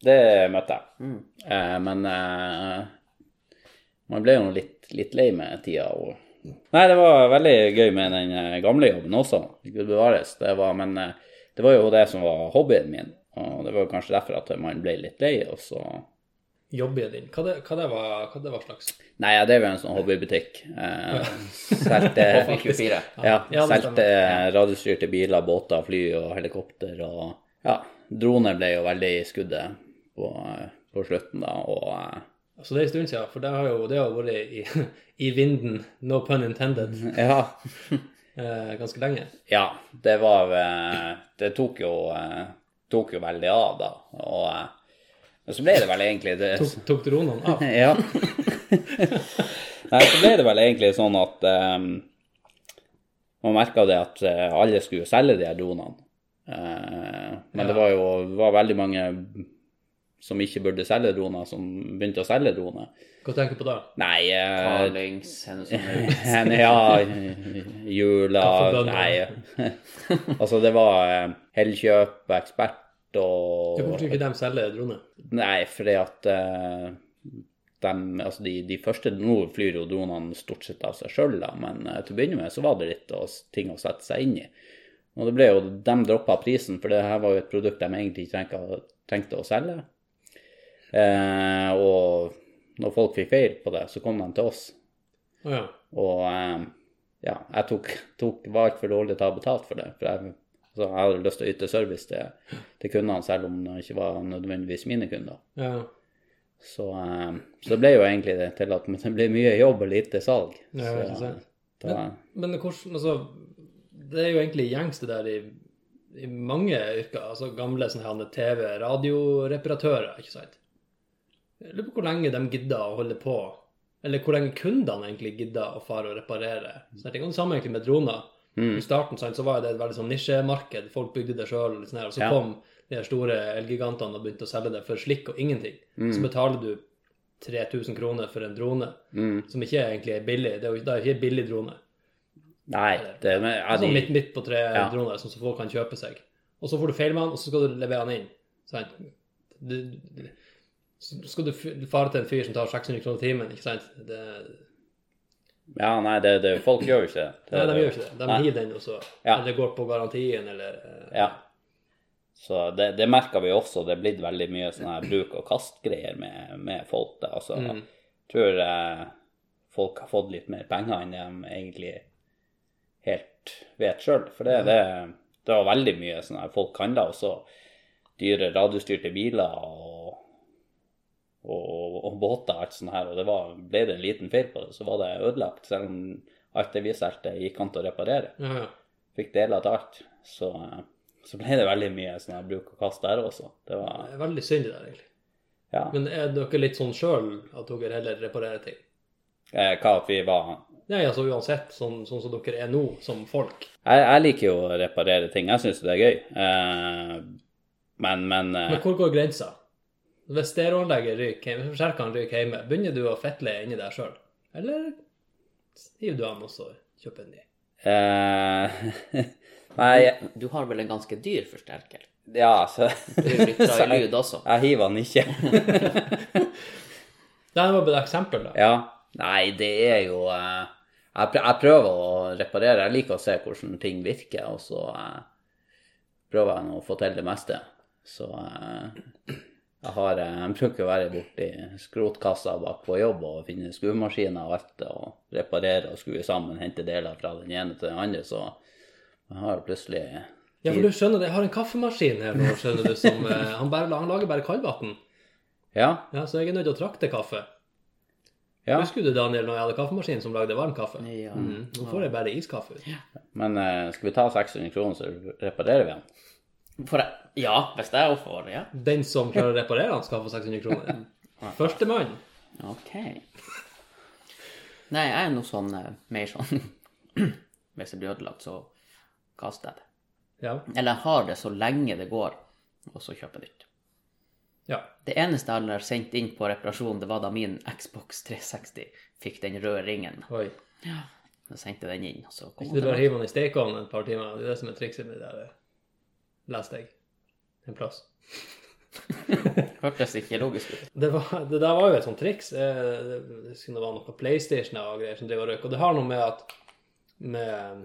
Speaker 3: Det møtte jeg. Eh, men eh, man ble jo litt, litt lei med tida. Og... Nei, det var veldig gøy med den eh, gamle jobben også. Gud bevares. Det var, men eh, det var jo det som var hobbyen min. Og det var jo kanskje derfor at man ble litt lei, og så
Speaker 2: Jobben din. Hva det, hva det, var, hva det var slags
Speaker 3: Nei, jeg drev jo en sånn hobbybutikk. Eh, solgte ja,
Speaker 2: Ja, det
Speaker 3: solgte radiostyrte biler, båter, fly og helikopter og Ja, droner ble jo veldig i skuddet på, eh, på slutten, da, og eh,
Speaker 2: Så det er en stund siden, for det har jo, det har jo vært i, i vinden, no pun intended,
Speaker 3: Ja.
Speaker 2: eh, ganske lenge.
Speaker 3: Ja, det var eh, Det tok jo, eh, tok jo veldig av, da, og eh, Men så ble det vel egentlig det
Speaker 2: Tok, tok dronene av.
Speaker 3: Ja. Nei, så ble det vel egentlig sånn at ehm, man merka det at eh, alle skulle selge de her dronene. Eh, men
Speaker 2: Ja.
Speaker 3: det var jo det var veldig mange som ikke burde selge droner, som begynte å selge droner.
Speaker 2: Hva tenker du på da?
Speaker 3: Nei eh,
Speaker 1: Carlings, henne som er
Speaker 3: hen- Ja, jula
Speaker 2: Kaffebønner.
Speaker 3: Nei.
Speaker 1: sånn?
Speaker 3: altså, det var eh, Hellkjøp, Ekspert og
Speaker 2: Hvorfor skulle ikke de selge droner?
Speaker 3: Nei, fordi at eh, dem- altså de, de første Nå flyr jo dronene stort sett av seg sjøl, men eh, til å begynne med så var det litt å, ting å sette seg inn i. Og det ble jo, De droppa prisen, for det her var jo et produkt de egentlig ikke tenkte, tenkte å selge. Eh, og når folk fikk feil på det, så kom de til oss.
Speaker 2: Å ja.
Speaker 3: Og eh, ja, jeg tok, tok var altfor dårlig til å ha betalt for det. For jeg, altså, jeg hadde lyst til å yte service til, til kundene, selv om det ikke var nødvendigvis mine kunder.
Speaker 2: ja.
Speaker 3: Så, eh, så det ble jo egentlig det til at det ble mye jobb og lite salg.
Speaker 2: Ja,
Speaker 3: så,
Speaker 2: ikke sant.
Speaker 3: da,
Speaker 2: Men hvordan, altså, det er jo egentlig gjengs det der i, i mange yrker, altså gamle sånne her TV, radioreparatører, ikke sant? Jeg lurer på hvor lenge de gidder å holde på, eller hvor lenge kundene egentlig gidder å fare og reparere. Så jeg tenker, og det samme egentlig med droner. I
Speaker 3: mm,
Speaker 2: starten sant, så var jo det et veldig sånn nisjemarked, folk bygde det sjøl, og, litt sånn her, og så
Speaker 3: Ja.
Speaker 2: kom de her store elgigantene og begynte å selge det for slikk og ingenting. Så betaler du 3000 kroner for en drone,
Speaker 3: mm,
Speaker 2: som ikke egentlig er billig. Det er jo det er jo ikke en billig drone.
Speaker 3: nei, det men, ja,
Speaker 2: Sånn
Speaker 3: de,
Speaker 2: midt, midt på tre
Speaker 3: Ja.
Speaker 2: droner sånn som så folk kan kjøpe seg. Og så får du feil med han, og så skal du levere han inn. Sant? Du, du, så skal du f- fare til en fyr som tar 600 kroner timen, ikke sant? Det,
Speaker 3: ja, nei det, det, folk gjør jo ikke det.
Speaker 2: nei, de gjør ikke det. De
Speaker 3: Nei.
Speaker 2: hiver den, og så
Speaker 3: Ja.
Speaker 2: Eller går på garantien, eller eh,
Speaker 3: Ja. Så det, det merker vi også. Det er blitt veldig mye sånn her bruk og kast-greier med, med folk. Da. Altså,
Speaker 2: Mm.
Speaker 3: Jeg tror eh, folk har fått litt mer penger enn de egentlig helt vet sjøl. For det, det, det var veldig mye sånn her folk handla også dyre radiostyrte biler og, og, og båter og alt sånt her. Og det var, ble det en liten feil på det, så var det ødelagt. Selv om alt det vi solgte, gikk an til å reparere
Speaker 2: Ja, ja.
Speaker 3: fikk deler til alt, så, eh, så ble det veldig mye sånn her bruk og kast der også. Det var
Speaker 2: Det er veldig synd det der, egentlig.
Speaker 3: Ja.
Speaker 2: Men er dere litt sånn sjøl at dere heller reparerer ting?
Speaker 3: Eh, hva at vi var
Speaker 2: Nei, altså uansett, sånn, sånn som dere er nå, som folk.
Speaker 3: Jeg, jeg liker jo å reparere ting. Jeg syns det er gøy. Eh, men, men eh,
Speaker 2: Men hvor går grensa? Hvis stereoanlegget ryker hjemme, hvis forsterkeren ryker hjemme, begynner du å fettle inni deg sjøl? Eller hiver du den og så kjøper en ny?
Speaker 3: eh, Nei,
Speaker 1: Du har vel en ganske dyr forsterker?
Speaker 3: ja, så
Speaker 1: Du lytter i
Speaker 3: Sorry.
Speaker 1: lyd også.
Speaker 3: Jeg hiver den ikke.
Speaker 2: Nei, Det var bare et eksempel, da.
Speaker 3: Ja. Nei, det er jo eh, jeg, pr jeg prøver å reparere. Jeg liker å se hvordan ting virker, og så eh, prøver jeg nå å få til det meste. Så eh, jeg har eh, Jeg bruker å være borti skrotkassa bak på jobb og finne skuemaskiner og alt det, og reparere og skru sammen, hente deler fra den ene til den andre, så jeg har plutselig
Speaker 2: Ja, for du skjønner det, jeg har en kaffemaskin her nå, skjønner du, som eh, han, bare, han lager bare kaldvann.
Speaker 3: Ja.
Speaker 2: Ja, så jeg er nødt til å trakte kaffe.
Speaker 3: ja.
Speaker 2: Husker du, Daniel, når jeg hadde kaffemaskin som lagde varm kaffe?
Speaker 1: Ja.
Speaker 2: Mm, nå får jeg bare iskaffe. ut.
Speaker 3: Men eh, skal vi ta 600 kroner, så reparerer vi den?
Speaker 1: For jeg, ja, hvis jeg også får ja.
Speaker 2: Den som klarer å reparere den, skal få 600 kroner. Førstemann.
Speaker 1: Ok. Nei, jeg er noe sånn eh, mer sånn Hvis det blir ødelagt, så kaster jeg det.
Speaker 2: Ja.
Speaker 1: Eller jeg har det så lenge det går, og så kjøper jeg nytt.
Speaker 2: ja.
Speaker 1: Det eneste jeg har sendt inn på reparasjon, det var da min Xbox 360 fikk den røde ringen.
Speaker 2: Oi.
Speaker 1: Jeg sendte den inn, og så kom
Speaker 2: Ikke du
Speaker 1: den.
Speaker 2: bare hiver den i stekeovnen et par timer. Det er det som er trikset med det der. Leste jeg. En plass.
Speaker 1: Hørtes ikke logisk ut.
Speaker 2: Det, var, det der var jo et sånt triks. Eh, Det det skulle det være noe PlayStation og greier som driver og røyker. Og det har noe med at med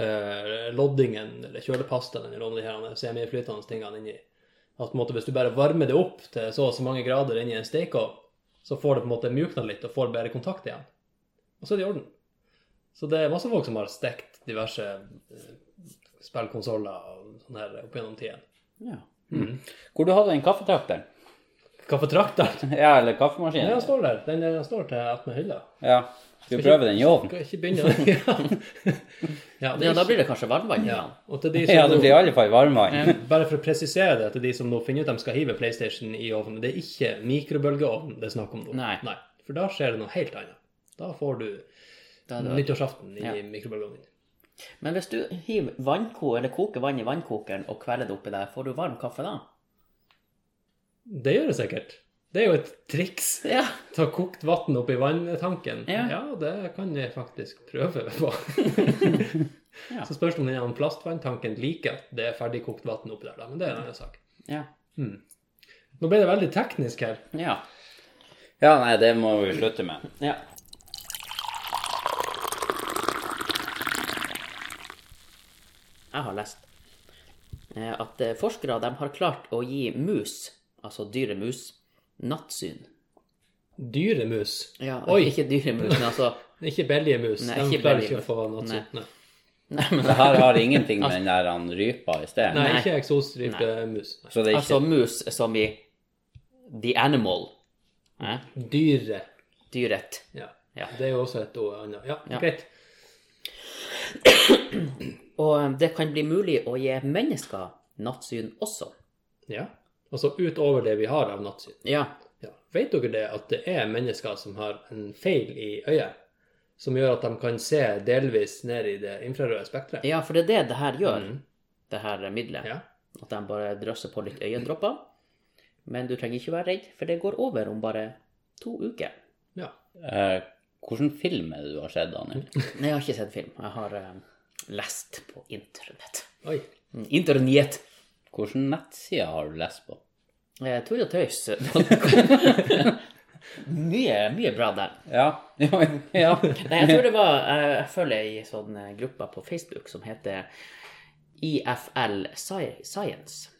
Speaker 2: eh, loddingen, eller kjølepastaen, eller noen av de her semiflytende tingene inni At på en måte, hvis du bare varmer det opp til så og så mange grader inni en stekeovn, så får det på en måte mjukna litt og får bedre kontakt igjen. Og så er det i orden. Så det er masse folk som har stekt diverse eh, spillkonsoller og sånn her opp gjennom tiden.
Speaker 1: Ja.
Speaker 3: Hvor du hadde den kaffetrakteren?
Speaker 2: Kaffetrakteren
Speaker 3: Ja, eller kaffemaskinen?
Speaker 2: Ja, den står der. Den, den står til attmed hylla.
Speaker 3: Ja. Skal vi prøve den i ovnen?
Speaker 2: Skal ikke begynne å Ja, ja, det
Speaker 1: ja,
Speaker 2: er
Speaker 1: da blir det kanskje varmvann
Speaker 2: ja.
Speaker 1: igjen.
Speaker 2: Og til de som
Speaker 3: Ja, det blir i
Speaker 2: nå,
Speaker 3: alle fall varmvann.
Speaker 2: Bare for å presisere det til de som nå finner ut de skal hive PlayStation i ovnen, det er ikke mikrobølgeovn det er snakk om nå.
Speaker 1: Nei.
Speaker 2: For da skjer det noe helt annet. Da får du
Speaker 1: Da er det-
Speaker 2: nyttårsaften i
Speaker 1: Ja.
Speaker 2: mikrobølgeovnen.
Speaker 1: Men hvis du hiver vannko, eller koker vann i vannkokeren og kveler det oppi der, får du varm kaffe da?
Speaker 2: Det gjør det sikkert. Det er jo et triks.
Speaker 1: Ja.
Speaker 2: Ta kokt vann oppi vanntanken.
Speaker 1: Ja.
Speaker 2: ja, det kan jeg faktisk prøve på.
Speaker 1: Ja.
Speaker 2: Så spørs det om den her plastvanntanken liker at det er ferdigkokt vann oppi der, da. Men det er en annen sak.
Speaker 1: Ja.
Speaker 2: Nå ble det veldig teknisk her.
Speaker 1: Ja.
Speaker 3: Ja, nei, det må vi slutte med.
Speaker 1: ja. Jeg har lest eh, at eh, forskere de har klart å gi mus, altså dyre mus, nattsyn.
Speaker 2: Dyremus.
Speaker 1: Ja,
Speaker 2: Oi.
Speaker 1: Ikke dyre mus, men altså
Speaker 2: Ikke belgemus.
Speaker 1: Nei,
Speaker 2: De
Speaker 1: ikke
Speaker 2: klarer
Speaker 1: belgiemus.
Speaker 2: ikke å få natt. Nei.
Speaker 1: Nei, men
Speaker 3: Det her har ingenting med den der han rypa i sted.
Speaker 2: Nei,
Speaker 1: Nei.
Speaker 2: ikke eksosstripe mus. Nei.
Speaker 3: Så det er ikke
Speaker 1: altså mus som i the animal. Eh?
Speaker 2: Dyre.
Speaker 1: Dyret.
Speaker 2: Ja.
Speaker 1: Ja.
Speaker 2: Det er jo også et ord annet. Ja,
Speaker 1: Ja.
Speaker 2: greit.
Speaker 1: Og eh, det kan bli mulig å gi mennesker nattsyn også.
Speaker 2: Ja. Altså utover det vi har av nattsyn.
Speaker 1: Ja.
Speaker 2: Ja. Vet dere det at det er mennesker som har en feil i øyet, som gjør at de kan se delvis ned i det infrarøde spekteret?
Speaker 1: ja, for det er det det her gjør,
Speaker 2: Mhm.
Speaker 1: det her middelet.
Speaker 2: Ja.
Speaker 1: At de bare drøsser på litt øyendråper. Men du trenger ikke være redd, for det går over om bare to uker.
Speaker 2: ja.
Speaker 3: eh, Hvilken film er det du har sett, Daniel?
Speaker 1: Nei, jeg har ikke sett film. Jeg har eh, lest på internett.
Speaker 2: Oi.
Speaker 1: Mm, Internett!
Speaker 3: Hvilken nettside har du lest på?
Speaker 1: Eh, Tull og tøys. mye, mye bra der.
Speaker 3: Ja. ja, ja.
Speaker 1: Nei, jeg tror det var eh, Jeg følger ei sånn eh, gruppe på Facebook som heter IFL Sci- Science.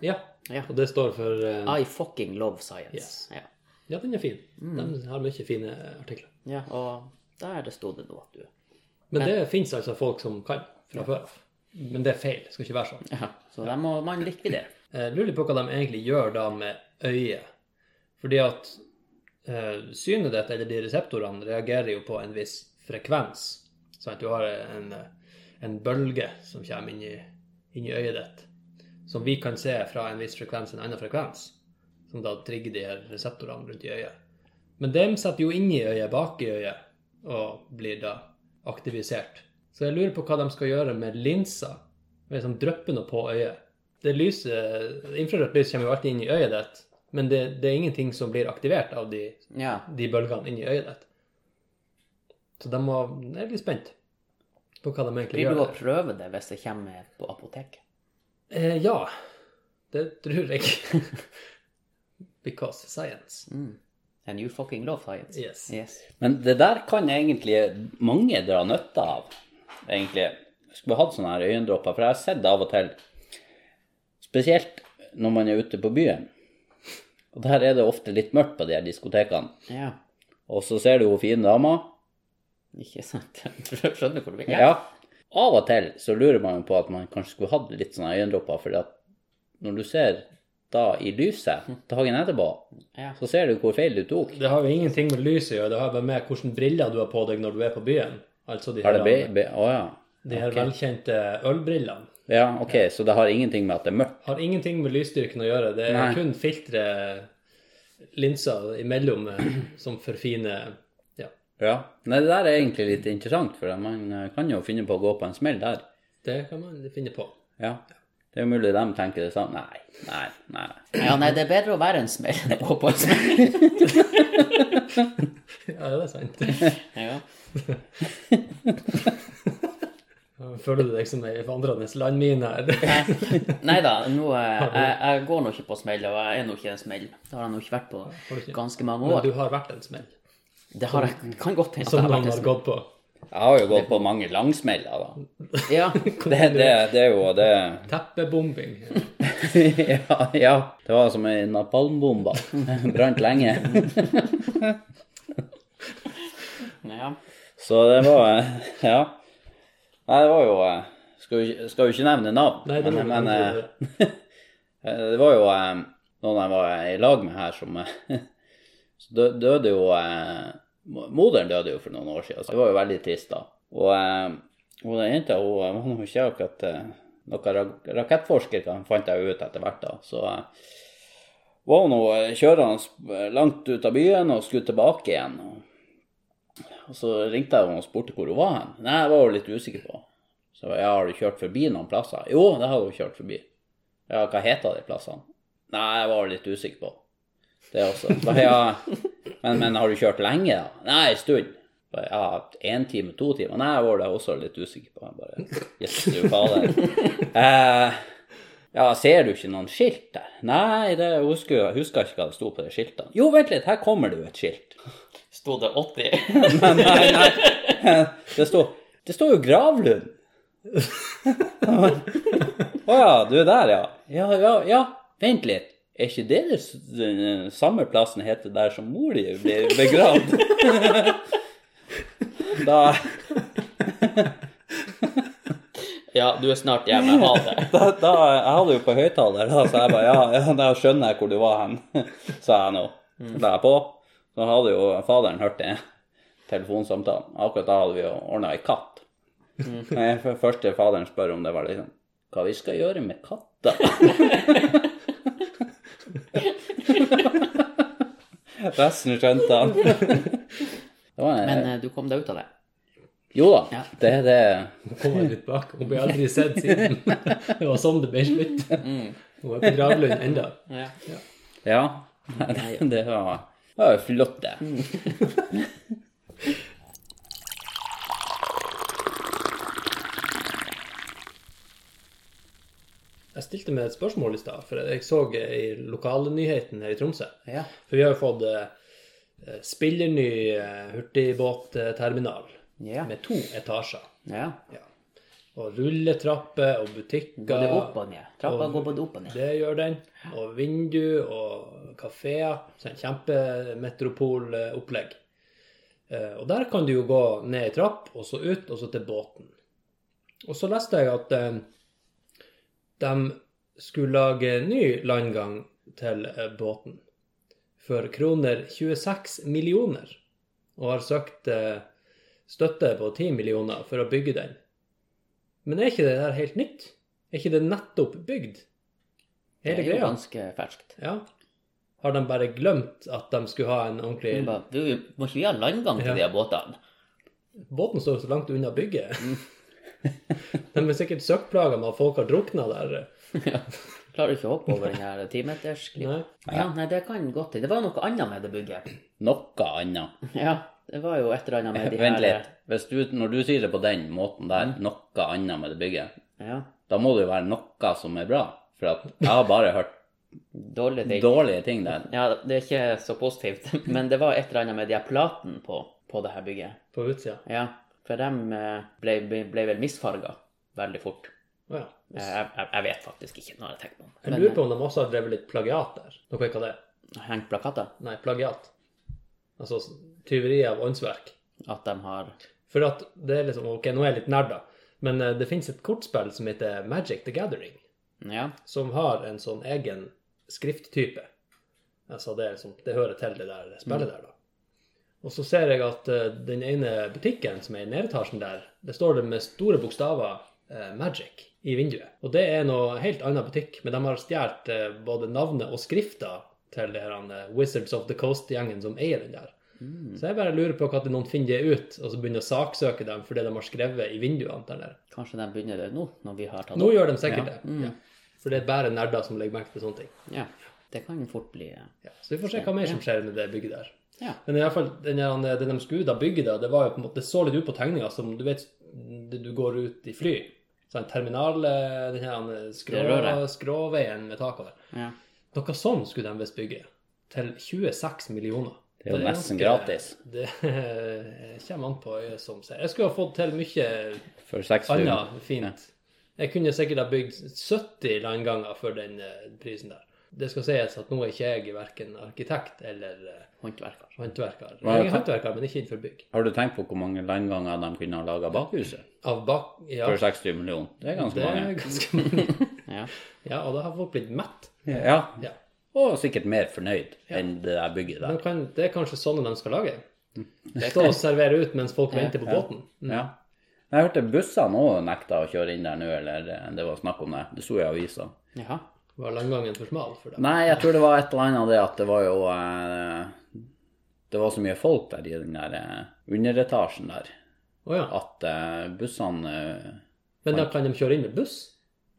Speaker 2: Ja.
Speaker 1: Ja.
Speaker 2: Og det står for eh,
Speaker 1: I fucking love science.
Speaker 2: Yes.
Speaker 1: Ja.
Speaker 2: Ja, den er fin.
Speaker 1: Mm.
Speaker 2: De har mye fine artikler.
Speaker 1: ja, og der det sto det nå at du
Speaker 2: Men det fins altså folk som kan fra før av. Men det er feil. Det skal ikke være sånn.
Speaker 1: ja, Så der må man likvidere.
Speaker 2: Jeg Eh, lurer på hva de egentlig gjør da med øyet. Fordi at eh, synet ditt, eller de reseptorene, reagerer jo på en viss frekvens. Sånn at du har en, eh, en bølge som kommer inn i, inn i øyet ditt, som vi kan se fra en viss frekvens til en annen frekvens, som da trigger de her reseptorene rundt i øyet. Men dem setter jo inn i øyet, bak i øyet, og blir da aktivisert. Så jeg lurer på hva de skal gjøre med linsa. Med sånn dryppe noe på øyet. Det lyset, Infrarødt lys kommer jo alltid inn i øyet ditt, men det, det er ingenting som blir aktivert av de,
Speaker 1: Ja.
Speaker 2: de bølgene inni øyet ditt. Så de må, jeg er litt spent på hva de egentlig
Speaker 1: Blir
Speaker 2: gjør.
Speaker 1: du å
Speaker 2: der.
Speaker 1: prøve det hvis det kommer på apoteket?
Speaker 2: Eh, ja. Det tror jeg. Because science.
Speaker 1: Mm. And you fucking love science.
Speaker 2: Yes.
Speaker 1: Yes.
Speaker 3: Men det der kan egentlig mange dra nytte av, egentlig. Jeg skulle hatt sånne her øyendråper, for jeg har sett det av og til. Spesielt når man er ute på byen. Og der er det ofte litt mørkt på de her diskotekene.
Speaker 1: Ja.
Speaker 3: Og så ser du hun fine dama.
Speaker 1: Ikke sant? Jeg Skjønner hvor du vil.
Speaker 3: Ja. Av og til så lurer man jo på at man kanskje skulle hatt litt sånne øyendråper, fordi at når du ser da i lyset dagen etterpå,
Speaker 1: Ja.
Speaker 3: så ser du hvor feil du tok.
Speaker 2: Det har jo ingenting med lyset å gjøre, det har bare med hvilke briller du har på deg når du er på byen. Altså de
Speaker 3: Har
Speaker 2: her,
Speaker 3: det be... be å ja.
Speaker 2: de her velkjente ølbrillene.
Speaker 3: Ja, ok, så det har ingenting med at det er mørkt.
Speaker 2: Har ingenting med lysstyrken å gjøre, det er
Speaker 3: Nei.
Speaker 2: kun filtre linser imellom eh, som forfiner Ja,
Speaker 3: Ja. Nei, det der er egentlig litt interessant, for man eh, kan jo finne på å gå på en smell der.
Speaker 2: det kan man finne på.
Speaker 3: Ja. Det er jo mulig de tenker det samme. Nei, nei, nei.
Speaker 1: ja, nei, det er bedre å være en smell enn å gå på en smell.
Speaker 2: Ja, det er sant.
Speaker 1: Ja.
Speaker 2: Føler du deg som ei vandrende landmine her?
Speaker 1: Nei da, nå, eh, jeg, jeg går nå ikke på smell, og jeg er nå ikke en smell. Det har jeg nå ikke vært
Speaker 2: Har du
Speaker 1: på
Speaker 2: ikke?
Speaker 1: ganske mange
Speaker 2: Men
Speaker 1: år.
Speaker 2: du har vært en smell,
Speaker 1: Det har jeg, kan godt hende at jeg
Speaker 2: som
Speaker 1: har vært
Speaker 2: noen
Speaker 1: en
Speaker 2: har
Speaker 1: smell.
Speaker 2: gått på.
Speaker 3: Jeg har jo gått på mange langsmeller, da.
Speaker 1: Ja.
Speaker 3: Det, det, det er jo det
Speaker 2: Teppebombing.
Speaker 3: ja, ja. Det var som ei napalmbombe. Brant lenge.
Speaker 1: ja.
Speaker 3: Så det var eh, Ja. Nei, det var jo eh, Skal jo ikke- skal jo ikke nevne navn,
Speaker 2: Nei, det må
Speaker 3: men,
Speaker 2: du
Speaker 3: men eh,
Speaker 2: aldri gjøre.
Speaker 3: Eh, Det var jo eh, noen jeg var i lag med her som eh, Så dø- døde jo eh, mo- Moderen døde jo for noen år siden, så det var jo veldig trist da. Og eh, hun den jenta hun var nå ikke akkurat eh, noen ra- rakettforsker, kan- fant jeg jo ut etter hvert, da. Så eh, var hun nå eh, kjørende langt ut av byen og skulle tilbake igjen. Og, og så ringte jeg henne og spurte hvor hun var hen. Nei, jeg var jo litt usikker på. Så jeg, har du kjørt forbi noen plasser? Jo, det har hun kjørt forbi. Ja, hva heter de plassene? Nei, jeg var litt usikker på det også. Ba, ja, men, men har du kjørt lenge, da? Nei, en stund. Ba, ja, en time, to timer? Nei, jeg var da også litt usikker på. Jeg bare, Jesu fader. Eh, ja, ser du ikke noen skilt der? Nei, det husker jeg husker ikke hva det sto på de skiltene. Jo, vent litt, her kommer det jo et skilt.
Speaker 1: Sto det 80?
Speaker 3: Nei, nei, nei. Det står, det står jo Gravlund. Å ja, du er der, ja. Ja, ja, ja. Vent litt. Er ikke det det s- den eh, samme plassen heter der som mor di ble begravd? Da,
Speaker 1: Ja, du er snart hjemme. Ha det.
Speaker 3: da, da Jeg hadde jo på høyttaler, da, så jeg bare ja, ja, da skjønner jeg hvor du var hen, sa jeg nå. Så la jeg på. Så hadde jo faderen hørt det, telefonsamtalen. Akkurat da hadde vi jo ordna ei katt. Nei, for første faderen spør om det var liksom Hva vi skal gjøre med katta? Resten skjønte han. Det var en,
Speaker 1: Men eh, du kom deg ut av det.
Speaker 3: jo da,
Speaker 1: ja.
Speaker 3: det er det
Speaker 2: Kom jeg litt bak. Hun ble aldri sett siden. Det var sånn det ble slutt. Hun er på gravlund enda.
Speaker 1: Ja.
Speaker 3: Ja. Det, det var det var jo flott, det.
Speaker 2: Jeg stilte meg et spørsmål i stad, for jeg så eh, i lokalnyheten her i Tromsø.
Speaker 1: Ja.
Speaker 2: For vi har jo fått eh, spillerny eh, hurtigbåtterminal
Speaker 1: Ja.
Speaker 2: med to etasjer.
Speaker 1: ja.
Speaker 2: Ja. Og rulletrapper og butikker.
Speaker 1: Går det opp og ned? Trappa går både opp og ned.
Speaker 2: Det gjør den. Og vindu og kafeer. Så en kjempemetropolopplegg. Eh, Og der kan du jo gå ned ei trapp, og så ut, og så til båten. Og så leste jeg at eh, de skulle lage ny landgang til eh, båten for kroner 26 millioner, og har søkt eh, støtte på 10 millioner for å bygge den. Men er ikke det der helt nytt? Er ikke det nettopp bygd?
Speaker 1: Det
Speaker 2: Hele
Speaker 1: er jo
Speaker 2: greia?
Speaker 1: ganske ferskt.
Speaker 2: Ja. Har de bare glemt at de skulle ha en ordentlig
Speaker 1: Hun ba, Du, må ikke vi ha landgang til
Speaker 2: Ja.
Speaker 1: de her båtene?
Speaker 2: Båten står jo så langt unna bygget.
Speaker 1: Mm.
Speaker 2: De er sikkert søkkplaga med at folk har drukna der.
Speaker 1: Klarer ikke å hoppe over den her timetersklippa.
Speaker 2: Nei.
Speaker 1: Ja, nei, det kan godt hende. Det var jo noe annet med det bygget.
Speaker 3: Noe annet.
Speaker 1: Ja, det var jo et eller annet med de
Speaker 3: Vent
Speaker 1: her
Speaker 2: eh,
Speaker 3: litt. Hvis du, når du sier det på den måten der,
Speaker 2: Mm.
Speaker 3: noe annet med det bygget,
Speaker 1: Ja,
Speaker 3: da må det jo være noe som er bra. For at jeg har bare hørt
Speaker 1: dårlige ting.
Speaker 3: dårlige ting der.
Speaker 1: Ja, det er ikke så positivt, men det var et eller annet med de her platene på, på det her bygget.
Speaker 2: På utsida.
Speaker 1: Ja, for de eh, ble, ble vel misfarga veldig fort.
Speaker 2: Å ja.
Speaker 1: Eh, Jeg, jeg, jeg vet faktisk ikke, nå har jeg tenkt på det.
Speaker 2: Jeg lurer på om de også har drevet litt plagiat der. Dere vet hva det er?
Speaker 1: Men, eh, Hengt plakater?
Speaker 2: Nei, plagiat. Altså s- tyveri av åndsverk.
Speaker 1: At de har
Speaker 2: For at det er liksom Ok, nå er jeg litt nerd, da. Men eh, det fins et kortspill som heter Magic the Gathering,
Speaker 1: Ja.
Speaker 2: som har en sånn egen skrifttype. Altså det, er liksom, det hører til det der
Speaker 3: Mm.
Speaker 2: spillet der, da. Og så ser jeg at eh, den ene butikken som er i nedetasjen der, det står det med store bokstaver eh, Magic i vinduet. Og det er noe helt annen butikk, men de har stjålet eh, både navnet og skrifta til de her, eh, Wizards of the Coast-gjengen som eier den der.
Speaker 1: Mm,
Speaker 2: Så jeg bare lurer på hva at noen finner det ut, og så begynner å saksøke dem for det de har skrevet i vinduene der nede.
Speaker 1: kanskje de begynner det nå, når vi har tatt
Speaker 2: Nå gjør de sikkert
Speaker 3: Ja. Mm.
Speaker 2: det. Ja. For det er bare nerder som legger merke til sånne ting.
Speaker 1: Ja. Det kan fort bli eh,
Speaker 2: Ja. Så vi får se hva mer som skjer med det bygget der.
Speaker 1: Ja.
Speaker 2: Men i alle fall, den her- det de skulle da bygge da, det var jo på en måte, det så litt ut på tegninga som du vet det du går ut i fly. Sånn terminal, eh, den her skrå,
Speaker 1: Det røret.
Speaker 2: skråveien med tak over.
Speaker 1: ja.
Speaker 2: Noe sånn skulle de visst bygge. Til 26 millioner.
Speaker 3: Det er jo nesten
Speaker 2: ganske-
Speaker 3: gratis.
Speaker 2: Det kommer an på øyet som ser. Jeg skulle ha fått til mye
Speaker 3: For seks
Speaker 2: annet
Speaker 3: tusen.
Speaker 2: fint. Jeg kunne sikkert ha bygd 70 landganger for den eh, prisen der. Det skal sies at nå er ikke jeg verken arkitekt eller eh,
Speaker 1: Håndverker.
Speaker 2: håndverker.
Speaker 3: Hva er
Speaker 2: Jeg er
Speaker 3: det?
Speaker 2: håndverker, men ikke innenfor bygg.
Speaker 3: Har du tenkt på hvor mange landganger de kunne ha laga bakhuset?
Speaker 2: Av bak... Ja,
Speaker 3: For 60 millioner. Det er ganske
Speaker 2: det er
Speaker 3: mange.
Speaker 2: ganske mange.
Speaker 1: Ja.
Speaker 2: Ja, og da har folk blitt mett.
Speaker 3: Ja.
Speaker 2: Ja. Mm.
Speaker 3: Og sikkert mer fornøyd enn det der bygget
Speaker 2: Men
Speaker 3: der. Mm.
Speaker 2: kan, det er kanskje sånne de skal lage. Stå og servere ut mens folk venter på
Speaker 3: ja.
Speaker 2: båten. Mm.
Speaker 3: Ja. Jeg hørte bussene òg nekta å kjøre inn der nå, eller eh, det var snakk om det. Det sto i avisa.
Speaker 1: Jaha.
Speaker 2: Var landgangen for smal for dem?
Speaker 3: Nei, jeg tror det var et eller annet av det at det var jo eh, Det var så mye folk der i den der eh, underetasjen der
Speaker 2: Å ja.
Speaker 3: at eh, bussene eh,
Speaker 2: Men da kan de kjøre inn med buss?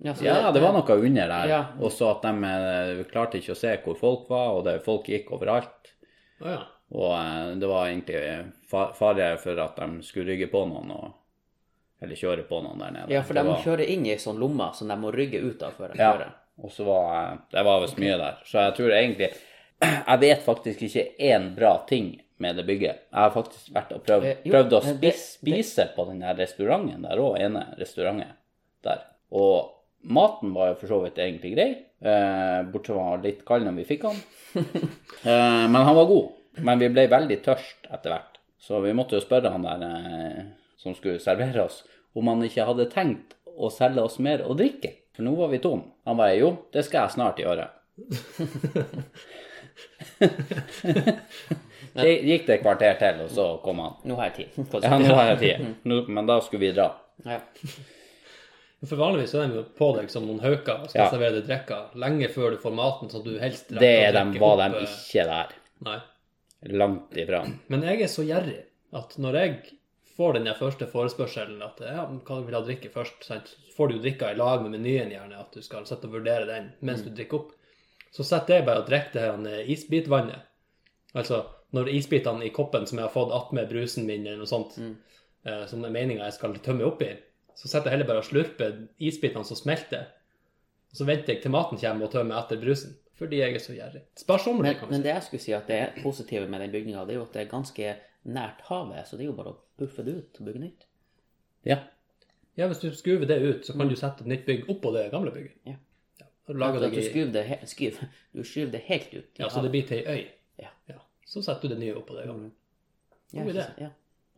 Speaker 1: Ja, så
Speaker 3: Ja, det var noe under der.
Speaker 1: Ja.
Speaker 3: Og så at de eh, klarte ikke å se hvor folk var, og det, folk gikk overalt.
Speaker 2: Å ja.
Speaker 3: Og eh, det var egentlig fa- fare for at de skulle rygge på noen, og, eller kjøre på noen der nede.
Speaker 1: Ja, for de
Speaker 3: Det
Speaker 1: må
Speaker 3: var-
Speaker 1: kjøre inn i ei sånn lomme som de må rygge ut av før de
Speaker 3: Ja,
Speaker 1: kjører.
Speaker 3: og så var eh, det var visst mye der. Så jeg tror egentlig Jeg vet faktisk ikke én bra ting med det bygget. Jeg har faktisk vært og prøvd,
Speaker 1: Eh, jo,
Speaker 3: prøvd å
Speaker 1: men
Speaker 3: spi,
Speaker 1: det-
Speaker 3: spise på den der restauranten der òg, ene restauranten der. Og maten var jo for så vidt egentlig grei, eh, bortsett fra han var litt kald når vi fikk han. eh, men han var god. Men vi ble veldig tørst etter hvert, så vi måtte jo spørre han der eh, som skulle servere oss, om han ikke hadde tenkt å selge oss mer å drikke. For nå var vi tom. Han bare jo, det skal jeg snart gjøre. Det gikk det et kvarter til, og så kom han.
Speaker 1: Nå har jeg tid.
Speaker 3: Ja, nå har jeg tid. Nå- Men da skulle vi dra.
Speaker 1: Ja.
Speaker 2: For vanligvis er de jo på deg som noen hauker og skal
Speaker 3: Ja.
Speaker 2: servere deg drikker lenge før du får maten, så du helst rekker
Speaker 3: Det
Speaker 2: å
Speaker 3: er
Speaker 2: drikke
Speaker 3: dem, var
Speaker 2: opp,
Speaker 3: de
Speaker 2: eh,
Speaker 3: ikke der.
Speaker 2: Nei.
Speaker 3: Langt ifra.
Speaker 2: Men jeg er så gjerrig at når jeg får den der første forespørselen at ja, men hva vil du ha drikke først, sant? så får du jo drikka i lag med menyen gjerne, at du skal sitte og vurdere den mens du drikker opp. Så setter jeg bare og drikker det her eh, isbitvannet. Altså når isbitene i koppen som jeg har fått attmed brusen min eller noe sånt, eh, som er meninga jeg skal tømme oppi, så setter jeg heller bare og slurper isbitene som smelter. Og så venter jeg til maten kommer og tømmer etter brusen. Fordi jeg er så gjerrig. Sparsommelig,
Speaker 1: Men,
Speaker 2: kan
Speaker 1: men
Speaker 2: man si.
Speaker 1: det jeg skulle si at det er positive med den bygninga, det er jo at det er ganske nært havet, så det er jo bare å buffe det ut og bygge nytt.
Speaker 3: Ja.
Speaker 2: Ja, hvis du skuver det ut, så kan du sette et nytt bygg oppå det gamle bygget.
Speaker 1: Ja.
Speaker 2: Og lage
Speaker 1: Altså,
Speaker 2: deg
Speaker 1: at du
Speaker 2: i,
Speaker 1: skyver det, he- skyv, du skyver det helt ut. i
Speaker 2: ja, så det
Speaker 1: havet.
Speaker 2: blir til ei øy.
Speaker 1: Ja.
Speaker 2: Så setter du det nye oppå det gamle.
Speaker 1: Ja,
Speaker 2: god
Speaker 1: ikke
Speaker 2: idé.
Speaker 1: sant? Ja.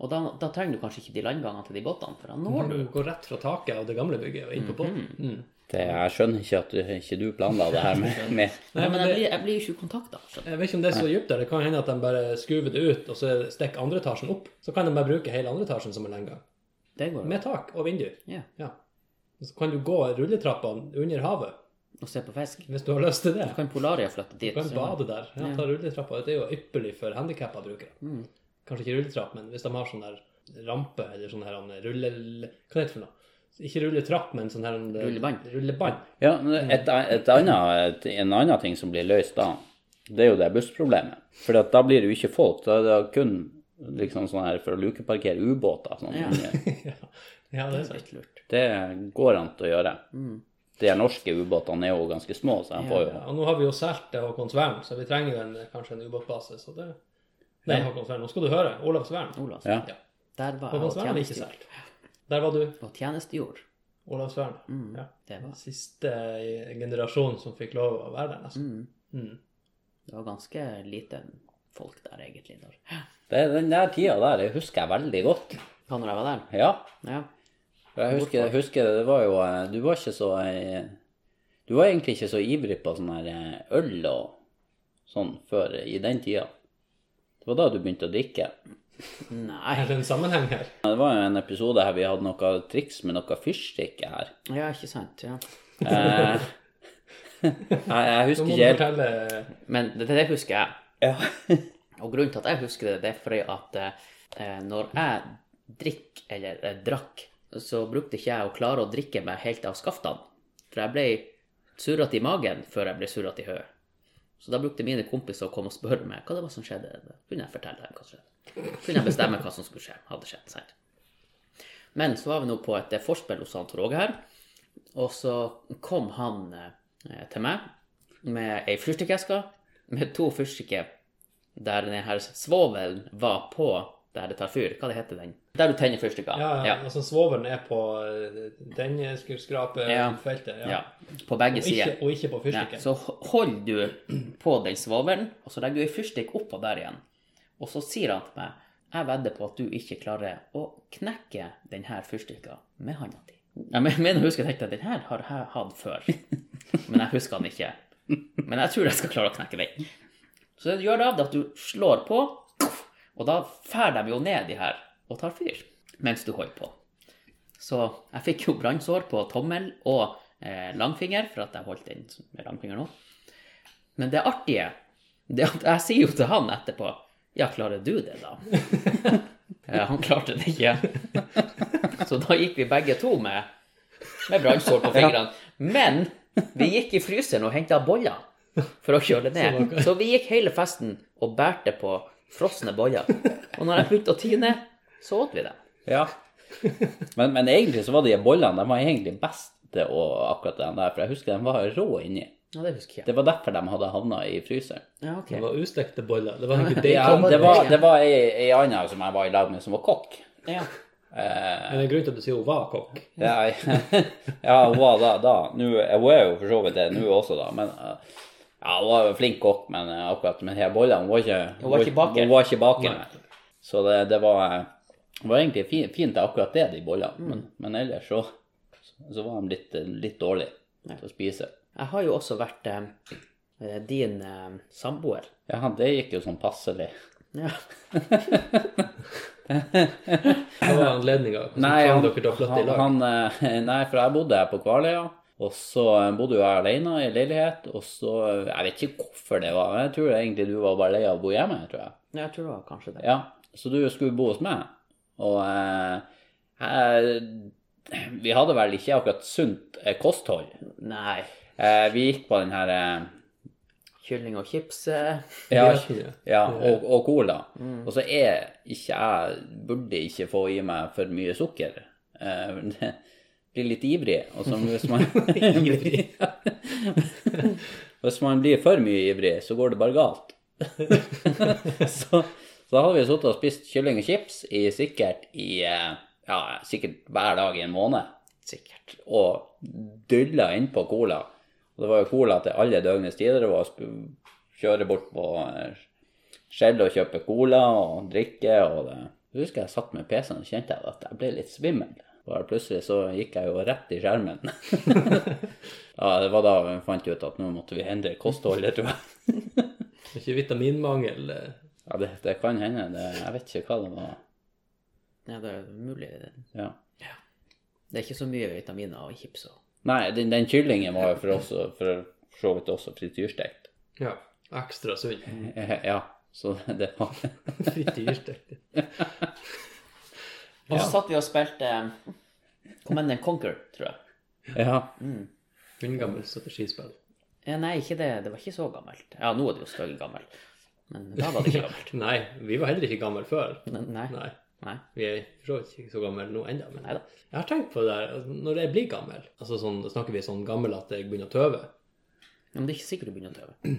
Speaker 1: Og da, da trenger du kanskje ikke de landgangene til de båtene, for da når
Speaker 2: Du
Speaker 1: du
Speaker 2: går rett fra taket av det gamle bygget og inn
Speaker 1: Mhm.
Speaker 2: på båten. Mm.
Speaker 3: Det, jeg skjønner ikke at du, ikke du planla det her med, med
Speaker 1: Nei, men jeg
Speaker 2: det-
Speaker 1: blir, jeg blir ikke kontakta.
Speaker 2: Jeg vet ikke om det er så dypt der. Det kan hende at de bare skuver det ut, og så stikker andre etasjen opp. Så kan de bare bruke hele andre etasjen som en landgang.
Speaker 1: Det går jo.
Speaker 2: Med tak og vindu.
Speaker 1: Ja.
Speaker 2: Ja. Og Så kan du gå rulletrappene under havet,
Speaker 1: Og se på fisk.
Speaker 2: hvis du har lyst til det.
Speaker 1: Du kan Polaria flytte dit.
Speaker 2: Du kan
Speaker 1: så-
Speaker 2: bade der. Ja,
Speaker 1: Liksom. Ja.
Speaker 2: ta rulletrappa. Det er jo ypperlig for handikappa brukere. Kanskje ikke rulletrapp, men hvis de har sånn der rampe eller sånn her han, rulle... Hva heter det for noe? Ikke rulletrapp, men sånn her han,
Speaker 1: Rullebånd.
Speaker 2: rullebånd.
Speaker 3: Ja, men et, et annet, en annen ting som blir løst da, det er jo det bussproblemet. For at da blir det jo ikke folk, da er det kun liksom sånn her for å lukeparkere ubåter. Sånn.
Speaker 1: Ja.
Speaker 2: ja. ja, det er sant.
Speaker 1: Litt lurt.
Speaker 3: Det går an til å gjøre.
Speaker 1: Mm.
Speaker 3: De norske ubåtene er jo ganske små, så jeg får jo
Speaker 2: Ja, og nå har vi jo solgt til Håkonsvern, så vi trenger jo en, kanskje en ubåtbase. Så det Nei, Håkonsvern, nå skal du høre. Olavsvern.
Speaker 1: Olavs.
Speaker 3: Ja.
Speaker 2: Ja.
Speaker 1: Der var jeg og
Speaker 2: Håkonsvern er ikke
Speaker 1: tjenestegjorde.
Speaker 2: solgt. Der var du.
Speaker 1: Og tjenestegjord.
Speaker 2: Olavsvern.
Speaker 1: Mm.
Speaker 2: Ja.
Speaker 1: Det var
Speaker 2: Siste eh, generasjon som fikk lov å være der, nesten.
Speaker 1: mm.
Speaker 2: Mm.
Speaker 1: Det var ganske lite folk der, egentlig. Der.
Speaker 3: Det er den der tida der, jeg husker jeg veldig godt.
Speaker 1: Ja, når jeg var der.
Speaker 3: Ja,
Speaker 1: Ja.
Speaker 3: jeg husker, jeg husker det var jo, eh, du var ikke så, eh, du var egentlig ikke så ivrig på sånn her eh, øl og sånn før i den tida. Det var da du begynte å drikke.
Speaker 1: Nei.
Speaker 2: Er det en sammenheng her?
Speaker 3: Ja, Det var jo en episode her vi hadde noe triks med noe fyrstikke her.
Speaker 1: Ja, ikke sant. Ja.
Speaker 3: Eh, jeg, jeg
Speaker 2: Nå
Speaker 3: husker
Speaker 2: må du
Speaker 3: ikke helt.
Speaker 2: fortelle
Speaker 1: Men det, det husker jeg.
Speaker 3: Ja.
Speaker 1: Og grunnen til at jeg husker det, det er fordi at eh, når jeg drikker, eller eh, drakk, så brukte ikke jeg å klare å drikke meg helt av skaftene. For jeg ble surret i magen før jeg ble surret i høyet. Så da brukte mine kompiser å komme og spørre meg hva det var som skjedde. Da kunne jeg fortelle dem hva som skjedde. Kunne jeg bestemme hva som skulle skje. Hadde skjedd sant? Men så var vi nå på et eh, forspill hos han Tor Åge her. Og så kom han eh, til meg med ei fyrstikkeske med to fyrstikker der den her svovelen var på der det tar fyr. Hva det heter den? Der du tenner fyrstikker.
Speaker 2: Ja, ja. altså svovelen er på den
Speaker 1: Ja.
Speaker 2: skrapefeltet. Ja.
Speaker 1: Ja, På begge
Speaker 2: Og, ikke,
Speaker 1: sider.
Speaker 2: og ikke på
Speaker 1: Nei,
Speaker 2: fyrstikken.
Speaker 1: så ho- holder du på den svovelen, og så legger du ei fyrstikk oppå der igjen. Og så sier han til meg jeg vedder på at du ikke klarer å knekke denne fyrstikka med handa di. Jeg men- mener jeg husker jeg tenkte at den her har jeg hatt før, men jeg husker den ikke. Men jeg tror jeg skal klare å knekke den. Så det gjør det av det at du slår på, og da fær de jo ned de her og tar fyr mens du holder på. Så jeg fikk jo brannsår på tommel og eh, langfinger, for at jeg holdt den med langfinger nå. Men det artige det er at jeg sier jo til han etterpå Ja, klarer du det, da? Eh, han klarte det ikke. Så da gikk vi begge to med, med brannsår på fingrene. Men vi gikk i fryseren og henta boller for å kjøle ned. Så vi gikk hele festen og bærte på frosne boller. Og når jeg begynte å tine, så åt vi dem.
Speaker 3: Ja. Men, men egentlig så var de bollene de var egentlig best til å akkurat den der, for jeg husker de var rå inni.
Speaker 1: Ja, det husker jeg.
Speaker 3: Det var derfor de hadde havna i fryseren.
Speaker 1: Ja, ok.
Speaker 2: Det var ustekte boller. Det var egentlig
Speaker 3: Det,
Speaker 2: det.
Speaker 3: ja, det var, det var ei, ei anna som jeg var i lag med, som var kokk.
Speaker 1: Ja.
Speaker 3: Eh,
Speaker 2: Men det er grunnen til at du sier hun var kokk.
Speaker 3: ja, ja, hun var da, da. Nå, eh, hun er jo for så vidt det nå også, da. Men eh, ja, hun var jo flink kokk, men eh, akkurat med de her bollene Hun var ikke,
Speaker 1: Hun var ikke baker.
Speaker 3: Hun var ikke baker. Så det, det var, eh, det var egentlig fi- fint akkurat det, de bollene. Men, men ellers så, så var de litt, eh, litt dårlige til å spise.
Speaker 1: Jeg har jo også vært eh, eh, din eh, samboer.
Speaker 3: Ja, det gikk jo sånn passelig.
Speaker 1: Ja.
Speaker 2: Hva var anledninga? Hvordan
Speaker 3: Nei,
Speaker 2: kan
Speaker 3: han,
Speaker 2: dere da flytte i
Speaker 3: han,
Speaker 2: lag?
Speaker 3: han, eh, nei, for jeg bodde her på Kvaløya, og så eh, bodde jo jeg alene i leilighet, og så eh, Jeg vet ikke hvorfor det var, men jeg tror egentlig du var bare lei av å bo hjemme, tror jeg.
Speaker 1: Ja, Jeg tror det var kanskje det.
Speaker 3: Ja, så du skulle bo hos meg, og eh, jeg, Vi hadde vel ikke akkurat sunt eh, kosthold.
Speaker 1: Nei.
Speaker 3: Eh, vi gikk på den her eh,
Speaker 1: Kylling og chips eh,
Speaker 3: ja,
Speaker 2: Grøten, ja.
Speaker 3: ja, Mm. og, og cola. Og så er ikke jeg Burde ikke få i meg for mye sukker. Eh, det blir litt ivrig. Og så hvis man Ivrig? hvis man blir for mye ivrig, så går det bare galt. så, så hadde vi sittet og spist kylling og chips i sikkert i eh, Ja, sikkert hver dag i en måned
Speaker 1: sikkert.
Speaker 3: og dylla innpå cola. Og det var jo cola til alle døgnets tider. Det var å sp- kjøre bort på eh, Skjell og kjøpe cola og drikke og det. Jeg husker jeg satt med PC-en og kjente jeg at jeg ble litt svimmel. Bare plutselig så gikk jeg jo rett i skjermen. ja, det var da vi fant ut at nå måtte vi endre kostholdet, tror jeg.
Speaker 2: Det er Ikke vitaminmangel. eh.
Speaker 3: Ja, det, det kan hende. Det, jeg vet ikke hva det var.
Speaker 1: Ja, det er mulig.
Speaker 3: Ja.
Speaker 1: Det er ikke så mye vitaminer og chips og
Speaker 3: Nei, den, den kyllingen var jo for, oss, for for så vidt også frityrstekt.
Speaker 2: Ja. Ekstra sunn.
Speaker 3: Mm. Ja, så det var
Speaker 2: Frityrstekt.
Speaker 1: Og så satt vi og spilte um, Command and Conquer, tror jeg.
Speaker 3: Ja.
Speaker 2: Vindgammelt strategispill.
Speaker 1: Eh, Nei, ikke det. Det var ikke så gammelt. Ja, nå er det jo støgg gammelt. Men da var det ikke gammelt.
Speaker 2: Nei, vi var heller ikke gamle før.
Speaker 1: Men Nei.
Speaker 2: Nei.
Speaker 1: Nei.
Speaker 2: Vi er for så vidt ikke så gamle nå ennå, men
Speaker 1: Neida.
Speaker 2: jeg har tenkt på det der altså, Når jeg blir gammel, altså sånn, da snakker vi sånn gammel at jeg begynner å tøve
Speaker 1: Men det er ikke sikkert du begynner å tøve.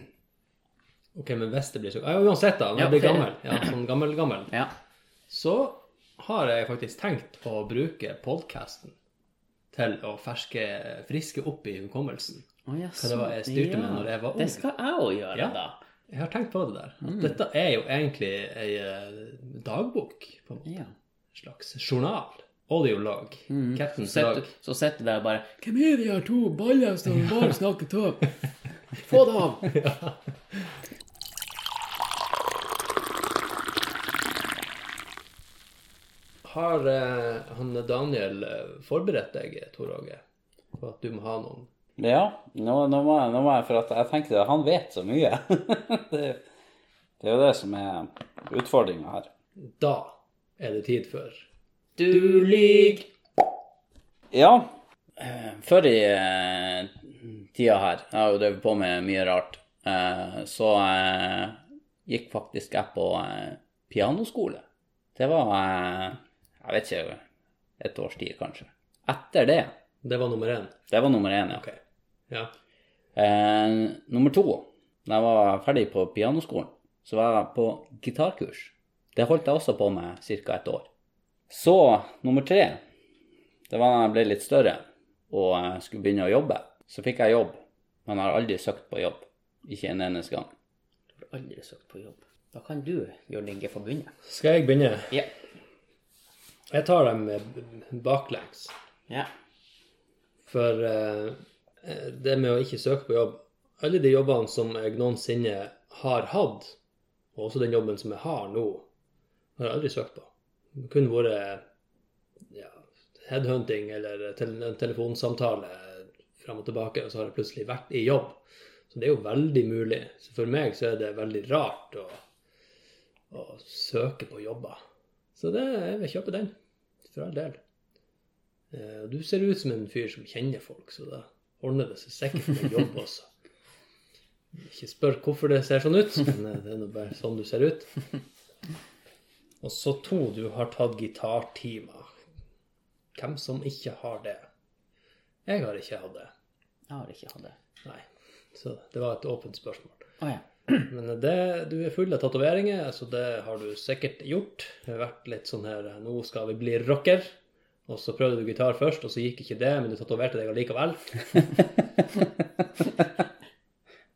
Speaker 2: Ok, men hvis det blir så ja, Uansett, da,
Speaker 1: Ja,
Speaker 2: når jeg blir
Speaker 1: fair.
Speaker 2: gammel, ja, sånn gammel-gammel,
Speaker 1: Ja.
Speaker 2: så har jeg faktisk tenkt å bruke podkasten til å ferske, friske opp i hukommelsen.
Speaker 1: Å, ja,
Speaker 2: det var jeg styrte med når jeg var ung.
Speaker 1: Det skal jeg òg gjøre,
Speaker 2: Ja.
Speaker 1: da.
Speaker 2: Jeg har tenkt på det der.
Speaker 1: Mm.
Speaker 2: At Dette er jo egentlig ei eh, dagbok, på en måte.
Speaker 1: Ja.
Speaker 2: En slags journal. Audiolog.
Speaker 1: Mm.
Speaker 2: Captain's
Speaker 1: Sett-
Speaker 2: log.
Speaker 1: Så sitter du der og bare Hvem er de her to baller som bare snakker tøv? Få det av!
Speaker 2: Har eh, han Daniel eh, forberedt deg, Tor Åge, på at du må ha noen
Speaker 3: ja. Nå, nå, må jeg, nå må jeg For at jeg tenkte at han vet så mye. det, er jo- det er jo det som er utfordringa her.
Speaker 2: Da er det tid for
Speaker 1: Du lyg!
Speaker 3: Ja. eh, Før i eh, tida her, jeg har jo drevet på med mye rart, eh, så eh, gikk faktisk jeg på eh, pianoskole. Det var eh, Jeg vet ikke Et års tid, kanskje. Etter det.
Speaker 2: Det var nummer én.
Speaker 3: Det var nummer én, ja.
Speaker 2: Ok. Ja.
Speaker 3: Eh, nummer to, da jeg var ferdig på pianoskolen, så var jeg på gitarkurs. Det holdt jeg også på med ca. et år. Så nummer tre, det var da jeg ble litt større og eh, skulle begynne å jobbe. Så fikk jeg jobb, men har aldri søkt på jobb. Ikke en eneste gang.
Speaker 1: Jeg har Aldri søkt på jobb. Da kan du, Jørn Inge, få begynne.
Speaker 2: Skal jeg begynne?
Speaker 1: Ja.
Speaker 2: Jeg tar dem eh, b- baklengs.
Speaker 1: ja.
Speaker 2: For eh, det med å ikke søke på jobb Alle de jobbene som jeg noensinne har hatt, og også den jobben som jeg har nå, har jeg aldri søkt på. Det kunne vært eh, ja, headhunting eller tel- en telefonsamtale fram og tilbake, og så har jeg plutselig vært i jobb. Så det er jo veldig mulig. Så for meg så er det veldig rart å, å søke på jobber. Så det, jeg vil kjøpe den, for all del. Eh, Du ser ut som en fyr som kjenner folk, så da ordner det seg sikkert med jobb også. Ikke spør hvorfor det ser sånn ut, men eh, det er nå bare sånn du ser ut. Og så to, du har tatt gitartimer. Hvem som ikke har det? Jeg har ikke hatt det,
Speaker 1: Jeg har ikke hatt det.
Speaker 2: nei. Så det var et åpent spørsmål.
Speaker 1: Å ja.
Speaker 2: Men det, du er full av tatoveringer, så det har du sikkert gjort. Det har vært litt sånn her Nå skal vi bli rocker. Og så prøvde du gitar først, og så gikk ikke det, men du tatoverte deg allikevel.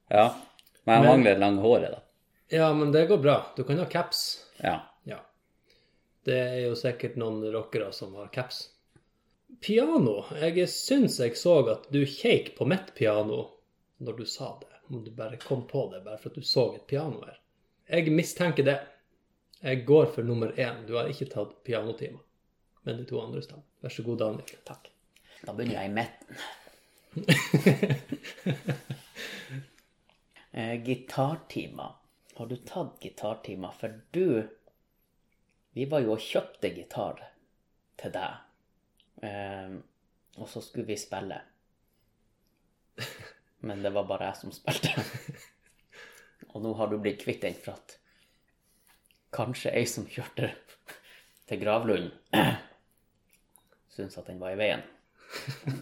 Speaker 3: Ja. Men
Speaker 2: Men-
Speaker 3: jeg mangler lange håret, da.
Speaker 2: Ja, men det går bra. Du kan ha caps.
Speaker 3: Ja.
Speaker 2: Ja. Det er jo sikkert noen rockere som har caps. Piano. Jeg syns jeg så at du kjeik på mitt piano når du sa det. Om du bare kom på det bare for at du så et piano her. Jeg mistenker det. Jeg går for nummer én. Du har ikke tatt pianotimer. Men de to andre stemmer. Vær så god, Daniel.
Speaker 1: Takk. Da begynner jeg i midten. eh, gitartimer. Har du tatt gitartimer? For du Vi var jo og kjøpte gitar til deg. Eh, og så skulle vi spille. Men det var bare jeg som spilte. og nå har du blitt kvitt den for at kanskje ei som kjørte til Gravlund, syntes at den var i veien.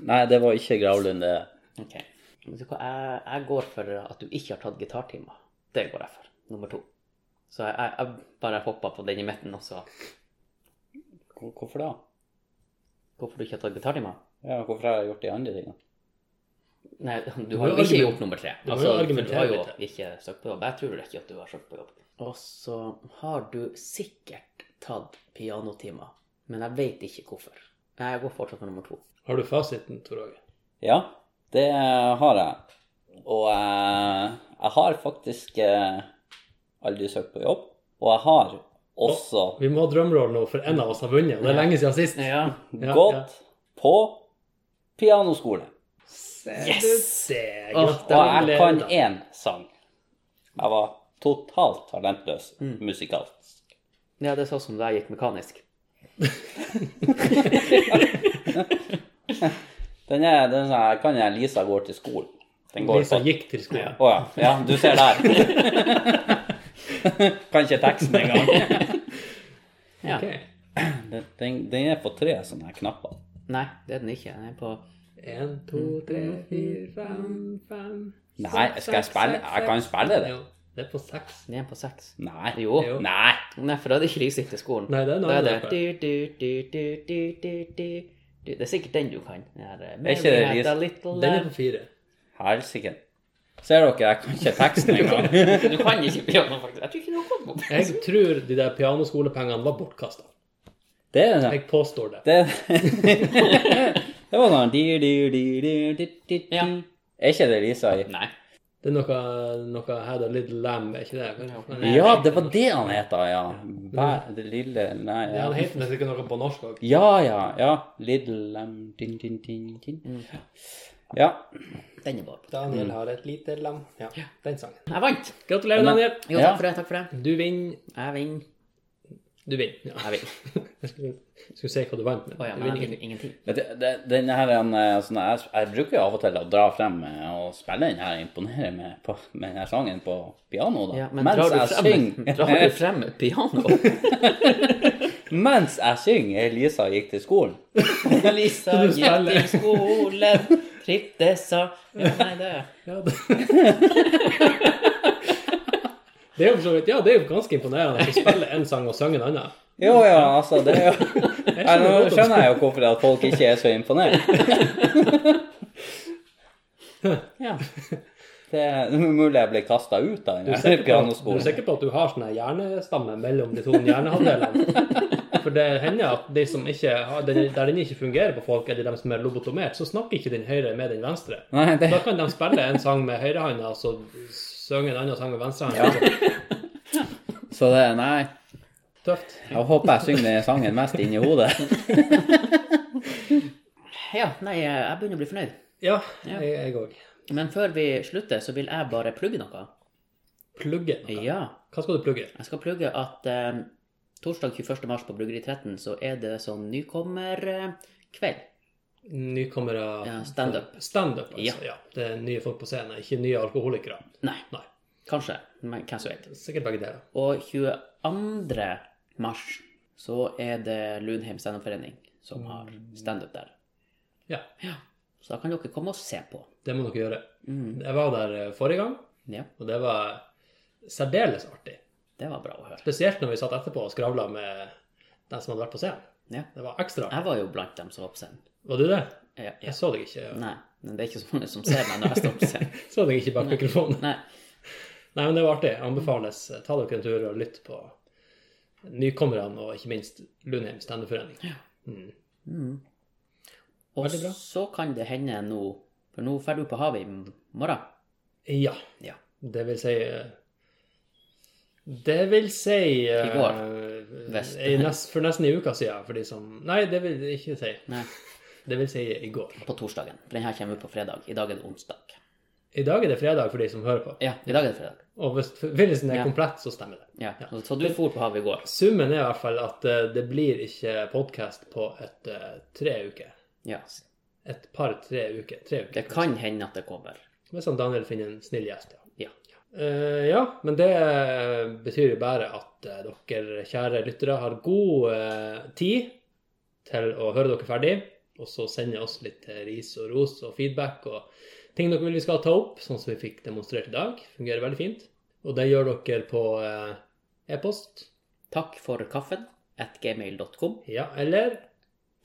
Speaker 3: Nei, det var ikke Gravlund, det.
Speaker 1: Ok. Vet du hva, jeg, jeg går for at du ikke har tatt gitartimer. Det går jeg for. Nummer to. Så jeg, jeg, jeg bare hoppa på den i midten også.
Speaker 3: Hvor- Hvorfor da?
Speaker 1: Hvorfor du ikke har tatt gitartimer?
Speaker 3: Ja, hvorfor har jeg gjort de andre tingene?
Speaker 1: Nei, du
Speaker 2: må
Speaker 1: har
Speaker 2: jo
Speaker 1: jo ikke
Speaker 2: argumen-
Speaker 1: gjort nummer tre.
Speaker 2: må jo
Speaker 1: Altså, for du
Speaker 2: argumentere
Speaker 1: har jo
Speaker 2: litt her.
Speaker 1: ikke søkt på jobb. Jeg tror ikke at du har søkt på jobb. Og så har du sikkert tatt pianotimer, men jeg veit ikke hvorfor. Nei, jeg går fortsatt for nummer to.
Speaker 2: Har du fasiten, Tor Åge?
Speaker 3: Ja, det har jeg. Og eh, jeg har faktisk eh, aldri søkt på jobb. Og jeg har også
Speaker 2: Vi må ha drømmeroll nå, for en av oss har vunnet. Og det er lenge siden sist.
Speaker 1: Ja.
Speaker 2: Ja,
Speaker 3: gått
Speaker 2: ja.
Speaker 3: på pianoskole.
Speaker 2: Yes! Det,
Speaker 1: Åh,
Speaker 3: Og jeg kan én sang. Jeg var
Speaker 2: Mm.
Speaker 3: totalt talentløs musikalsk.
Speaker 1: ja, det er sånn som da jeg gikk mekanisk.
Speaker 3: Den er, den er sånn, jeg kan jeg Lisa går til skolen. Den går
Speaker 2: Lisa
Speaker 3: på-
Speaker 2: gikk til skolen.
Speaker 3: Å ja. ja, du ser der. kan ikke teksten engang.
Speaker 1: Ja.
Speaker 2: Ok.
Speaker 3: Den, den, den er på tre sånne her knapper.
Speaker 1: Nei, det er den ikke. Den er på
Speaker 2: En, to, tre, fire, fem, fem
Speaker 3: Nei, skal jeg spille? Jeg kan spille det.
Speaker 2: Jo, det er på seks.
Speaker 1: Den er på seks.
Speaker 3: Nei.
Speaker 1: Jo.
Speaker 2: Jo.
Speaker 3: Nei.
Speaker 1: Nei, for da er det ikke Lise gikk til skolen.
Speaker 2: Nei, det er en
Speaker 1: Da er det
Speaker 2: annen
Speaker 1: du, du, du, du, du, du, du. Du, Det er sikkert den du kan. Den her, eh,
Speaker 3: ikke det
Speaker 1: Mary had a
Speaker 3: Lise?
Speaker 1: little
Speaker 2: Den er
Speaker 1: lamb.
Speaker 2: på fire.
Speaker 3: Helsike. Ser dere, jeg kan ikke teksten engang.
Speaker 1: Du kan ikke piano, faktisk. Jeg tror ikke du har kommet på
Speaker 2: Jeg tror de der pianoskolepengene var bortkasta.
Speaker 3: Det er det.
Speaker 2: Jeg påstår det.
Speaker 3: Det, det var sånn di, di, di, di, di, di, di.
Speaker 1: Ja.
Speaker 3: Er ikke det Lisa i?
Speaker 1: Nei.
Speaker 2: Det er noe, noe Had a Little Lamb, er ikke det? Men-
Speaker 3: Ja, det var det han het, da. Ja. Bæ, det lille Nei.
Speaker 2: Ja,
Speaker 3: Ja,
Speaker 2: Han heter nesten ikke noe på norsk òg.
Speaker 3: ja. ja, ja. Little lamb din, din, din, din. Ja.
Speaker 1: Den er bare på.
Speaker 2: Daniel har et lite lam. Ja, den sangen.
Speaker 1: Jeg vant!
Speaker 2: Gratulerer, Daniel.
Speaker 1: Jo,
Speaker 3: Ja.
Speaker 1: takk for det. takk for det.
Speaker 2: Du vinner.
Speaker 1: Jeg vinner.
Speaker 2: Du vinner. Ja.
Speaker 1: Jeg vinner.
Speaker 2: Jeg skulle, skulle si hva du vant med.
Speaker 1: Å ja,
Speaker 2: Du
Speaker 1: men
Speaker 2: vinner
Speaker 1: jeg
Speaker 2: ingenting.
Speaker 1: vinner ingenting.
Speaker 3: Det, det, den her er en eh, sånn jeg, jeg bruker jo av og til å dra frem eh, og spille den her, imponere med, på, med den her sangen på piano, da.
Speaker 1: Ja, men
Speaker 3: mens
Speaker 1: drar du,
Speaker 3: jeg
Speaker 1: frem,
Speaker 3: synger
Speaker 1: drar du frem piano?
Speaker 3: Mens jeg synger 'Elisa gikk til skolen'.
Speaker 1: Lisa
Speaker 2: Du
Speaker 1: gikk
Speaker 2: spiller.
Speaker 1: til skolen, tritte sa ja, Nei, det
Speaker 2: Ja, det... det er jo for så vidt Ja, det er jo ganske imponerende å spille en sang og synge en annen.
Speaker 3: Jo, ja, altså, det er jo Nei, Nå skjønner jeg jo hvorfor at folk ikke er så imponert.
Speaker 1: Ja.
Speaker 3: Det er mulig jeg ble kasta ut av den
Speaker 2: Du er
Speaker 3: her
Speaker 2: sikker på, at- du er
Speaker 3: pianoskolen.
Speaker 2: sikker på at du har sånn her hjernestamme mellom de to hjernehalvdelene? For det hender at de som ikke har, den- der den ikke fungerer på folk, eller de som er lobotomert, så snakker ikke den høyre med den venstre.
Speaker 3: Nei, det,
Speaker 2: Da kan de spille en sang med høyrehånda, og så synge en annen sang med venstrehånda.
Speaker 3: så det Nei.
Speaker 2: Tøft.
Speaker 3: Jeg håper jeg synger den sangen mest inni hodet.
Speaker 1: ja, nei, eh, jeg begynner å bli fornøyd.
Speaker 2: Ja, jeg òg.
Speaker 1: Men før vi slutter, så vil jeg bare plugge noe.
Speaker 2: Plugge noe.
Speaker 1: Ja.
Speaker 2: Hva skal du plugge?
Speaker 1: Jeg skal plugge at eh, torsdag 21. mars på Bryggeri 13 så er det sånn nykommerkveld.
Speaker 2: Nykommere
Speaker 1: Ja, stand-up.
Speaker 2: Standup, altså.
Speaker 1: Ja.
Speaker 2: Ja. Det er nye folk på scenen, ikke nye alkoholikere.
Speaker 1: Nei,
Speaker 2: Nei.
Speaker 1: kanskje, men hvem som vet.
Speaker 2: Sikkert begge deler.
Speaker 1: Og 22. mars så er det Lunheim standupforening som har standup der.
Speaker 2: Ja,
Speaker 1: Så da kan dere komme og se på.
Speaker 2: det må dere gjøre.
Speaker 1: Mm.
Speaker 2: Jeg var der eh, forrige gang.
Speaker 1: Ja,
Speaker 2: Og det var særdeles artig.
Speaker 1: det var bra å høre.
Speaker 2: Spesielt når vi satt etterpå og skravla med den som hadde vært på scenen.
Speaker 1: Ja.
Speaker 2: Det var ekstra.
Speaker 1: Jeg var jo blant dem som var på scenen.
Speaker 2: Var du det?
Speaker 1: Ja, ja.
Speaker 2: Jeg så deg ikke.
Speaker 1: Nei, men det er ikke så mange som ser meg når jeg står på scenen.
Speaker 2: Så deg ikke bak mikrofonen.
Speaker 1: Nei.
Speaker 2: Nei, men det var artig. Anbefales. Ta dere en tur og lytt på nykommerne, og ikke minst Lundheim standup-forening. Mm.
Speaker 1: Mm. Og
Speaker 2: Veldig bra.
Speaker 1: så kan det hende nå, for nå drar du på havet i morgen.
Speaker 2: Ja.
Speaker 1: Ja.
Speaker 2: Det vil si eh, Det vil si eh,
Speaker 1: I går. Vest.
Speaker 2: i nest, For nesten en uke siden, for de som Nei, det vil jeg ikke si.
Speaker 1: Nei,
Speaker 2: Det vil si i går.
Speaker 1: på torsdagen. For den her kommer ut på fredag. I dag er det onsdag.
Speaker 2: I dag er det fredag for de som hører på.
Speaker 1: Ja, i dag er det fredag.
Speaker 2: Og hvis forbindelsen er
Speaker 1: Ja.
Speaker 2: komplett, så stemmer det.
Speaker 1: Ja, og Så du for på havet i går?
Speaker 2: Summen er i hvert fall at eh, det blir ikke podkast på et eh, tre uker.
Speaker 1: Ja.
Speaker 2: Et par-tre uker. Tre uker.
Speaker 1: Det kan hende at det kommer.
Speaker 2: Hvis han Daniel finner en snill gjest, ja.
Speaker 1: Ja.
Speaker 2: Eh, ja, men det eh, betyr jo bare at eh, dere kjære lyttere har god eh, tid til å høre dere ferdig, og så sende oss litt eh, ris og ros og feedback og ting dere vil vi skal ta opp, sånn som vi fikk demonstrert i dag. Fungerer veldig fint. Og det gjør dere på eh, e-post.
Speaker 1: Takk for kaffen at gmail.com.
Speaker 2: Ja, eller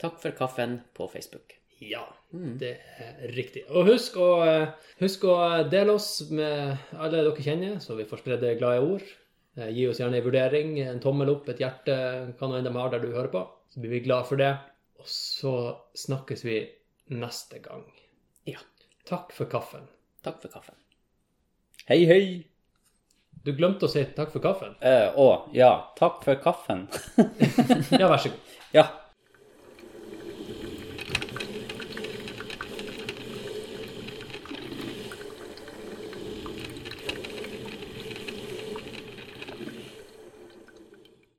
Speaker 1: Takk for kaffen på Facebook.
Speaker 2: Ja,
Speaker 1: Mm.
Speaker 2: det er riktig. Og husk å, eh, husk å dele oss med alle dere kjenner, så vi får spredd glade ord. Eh, Gi oss gjerne en vurdering, en tommel opp, et hjerte, hva nå enn de har der du hører på. Så blir vi glad for det. Og så snakkes vi neste gang.
Speaker 1: Ja.
Speaker 2: Takk for kaffen.
Speaker 1: Takk for kaffen.
Speaker 3: Hei, hei.
Speaker 2: Du glemte å si takk for kaffen.
Speaker 3: Eh, Å, ja. Takk for kaffen.
Speaker 2: Ja, vær så god.
Speaker 3: Ja.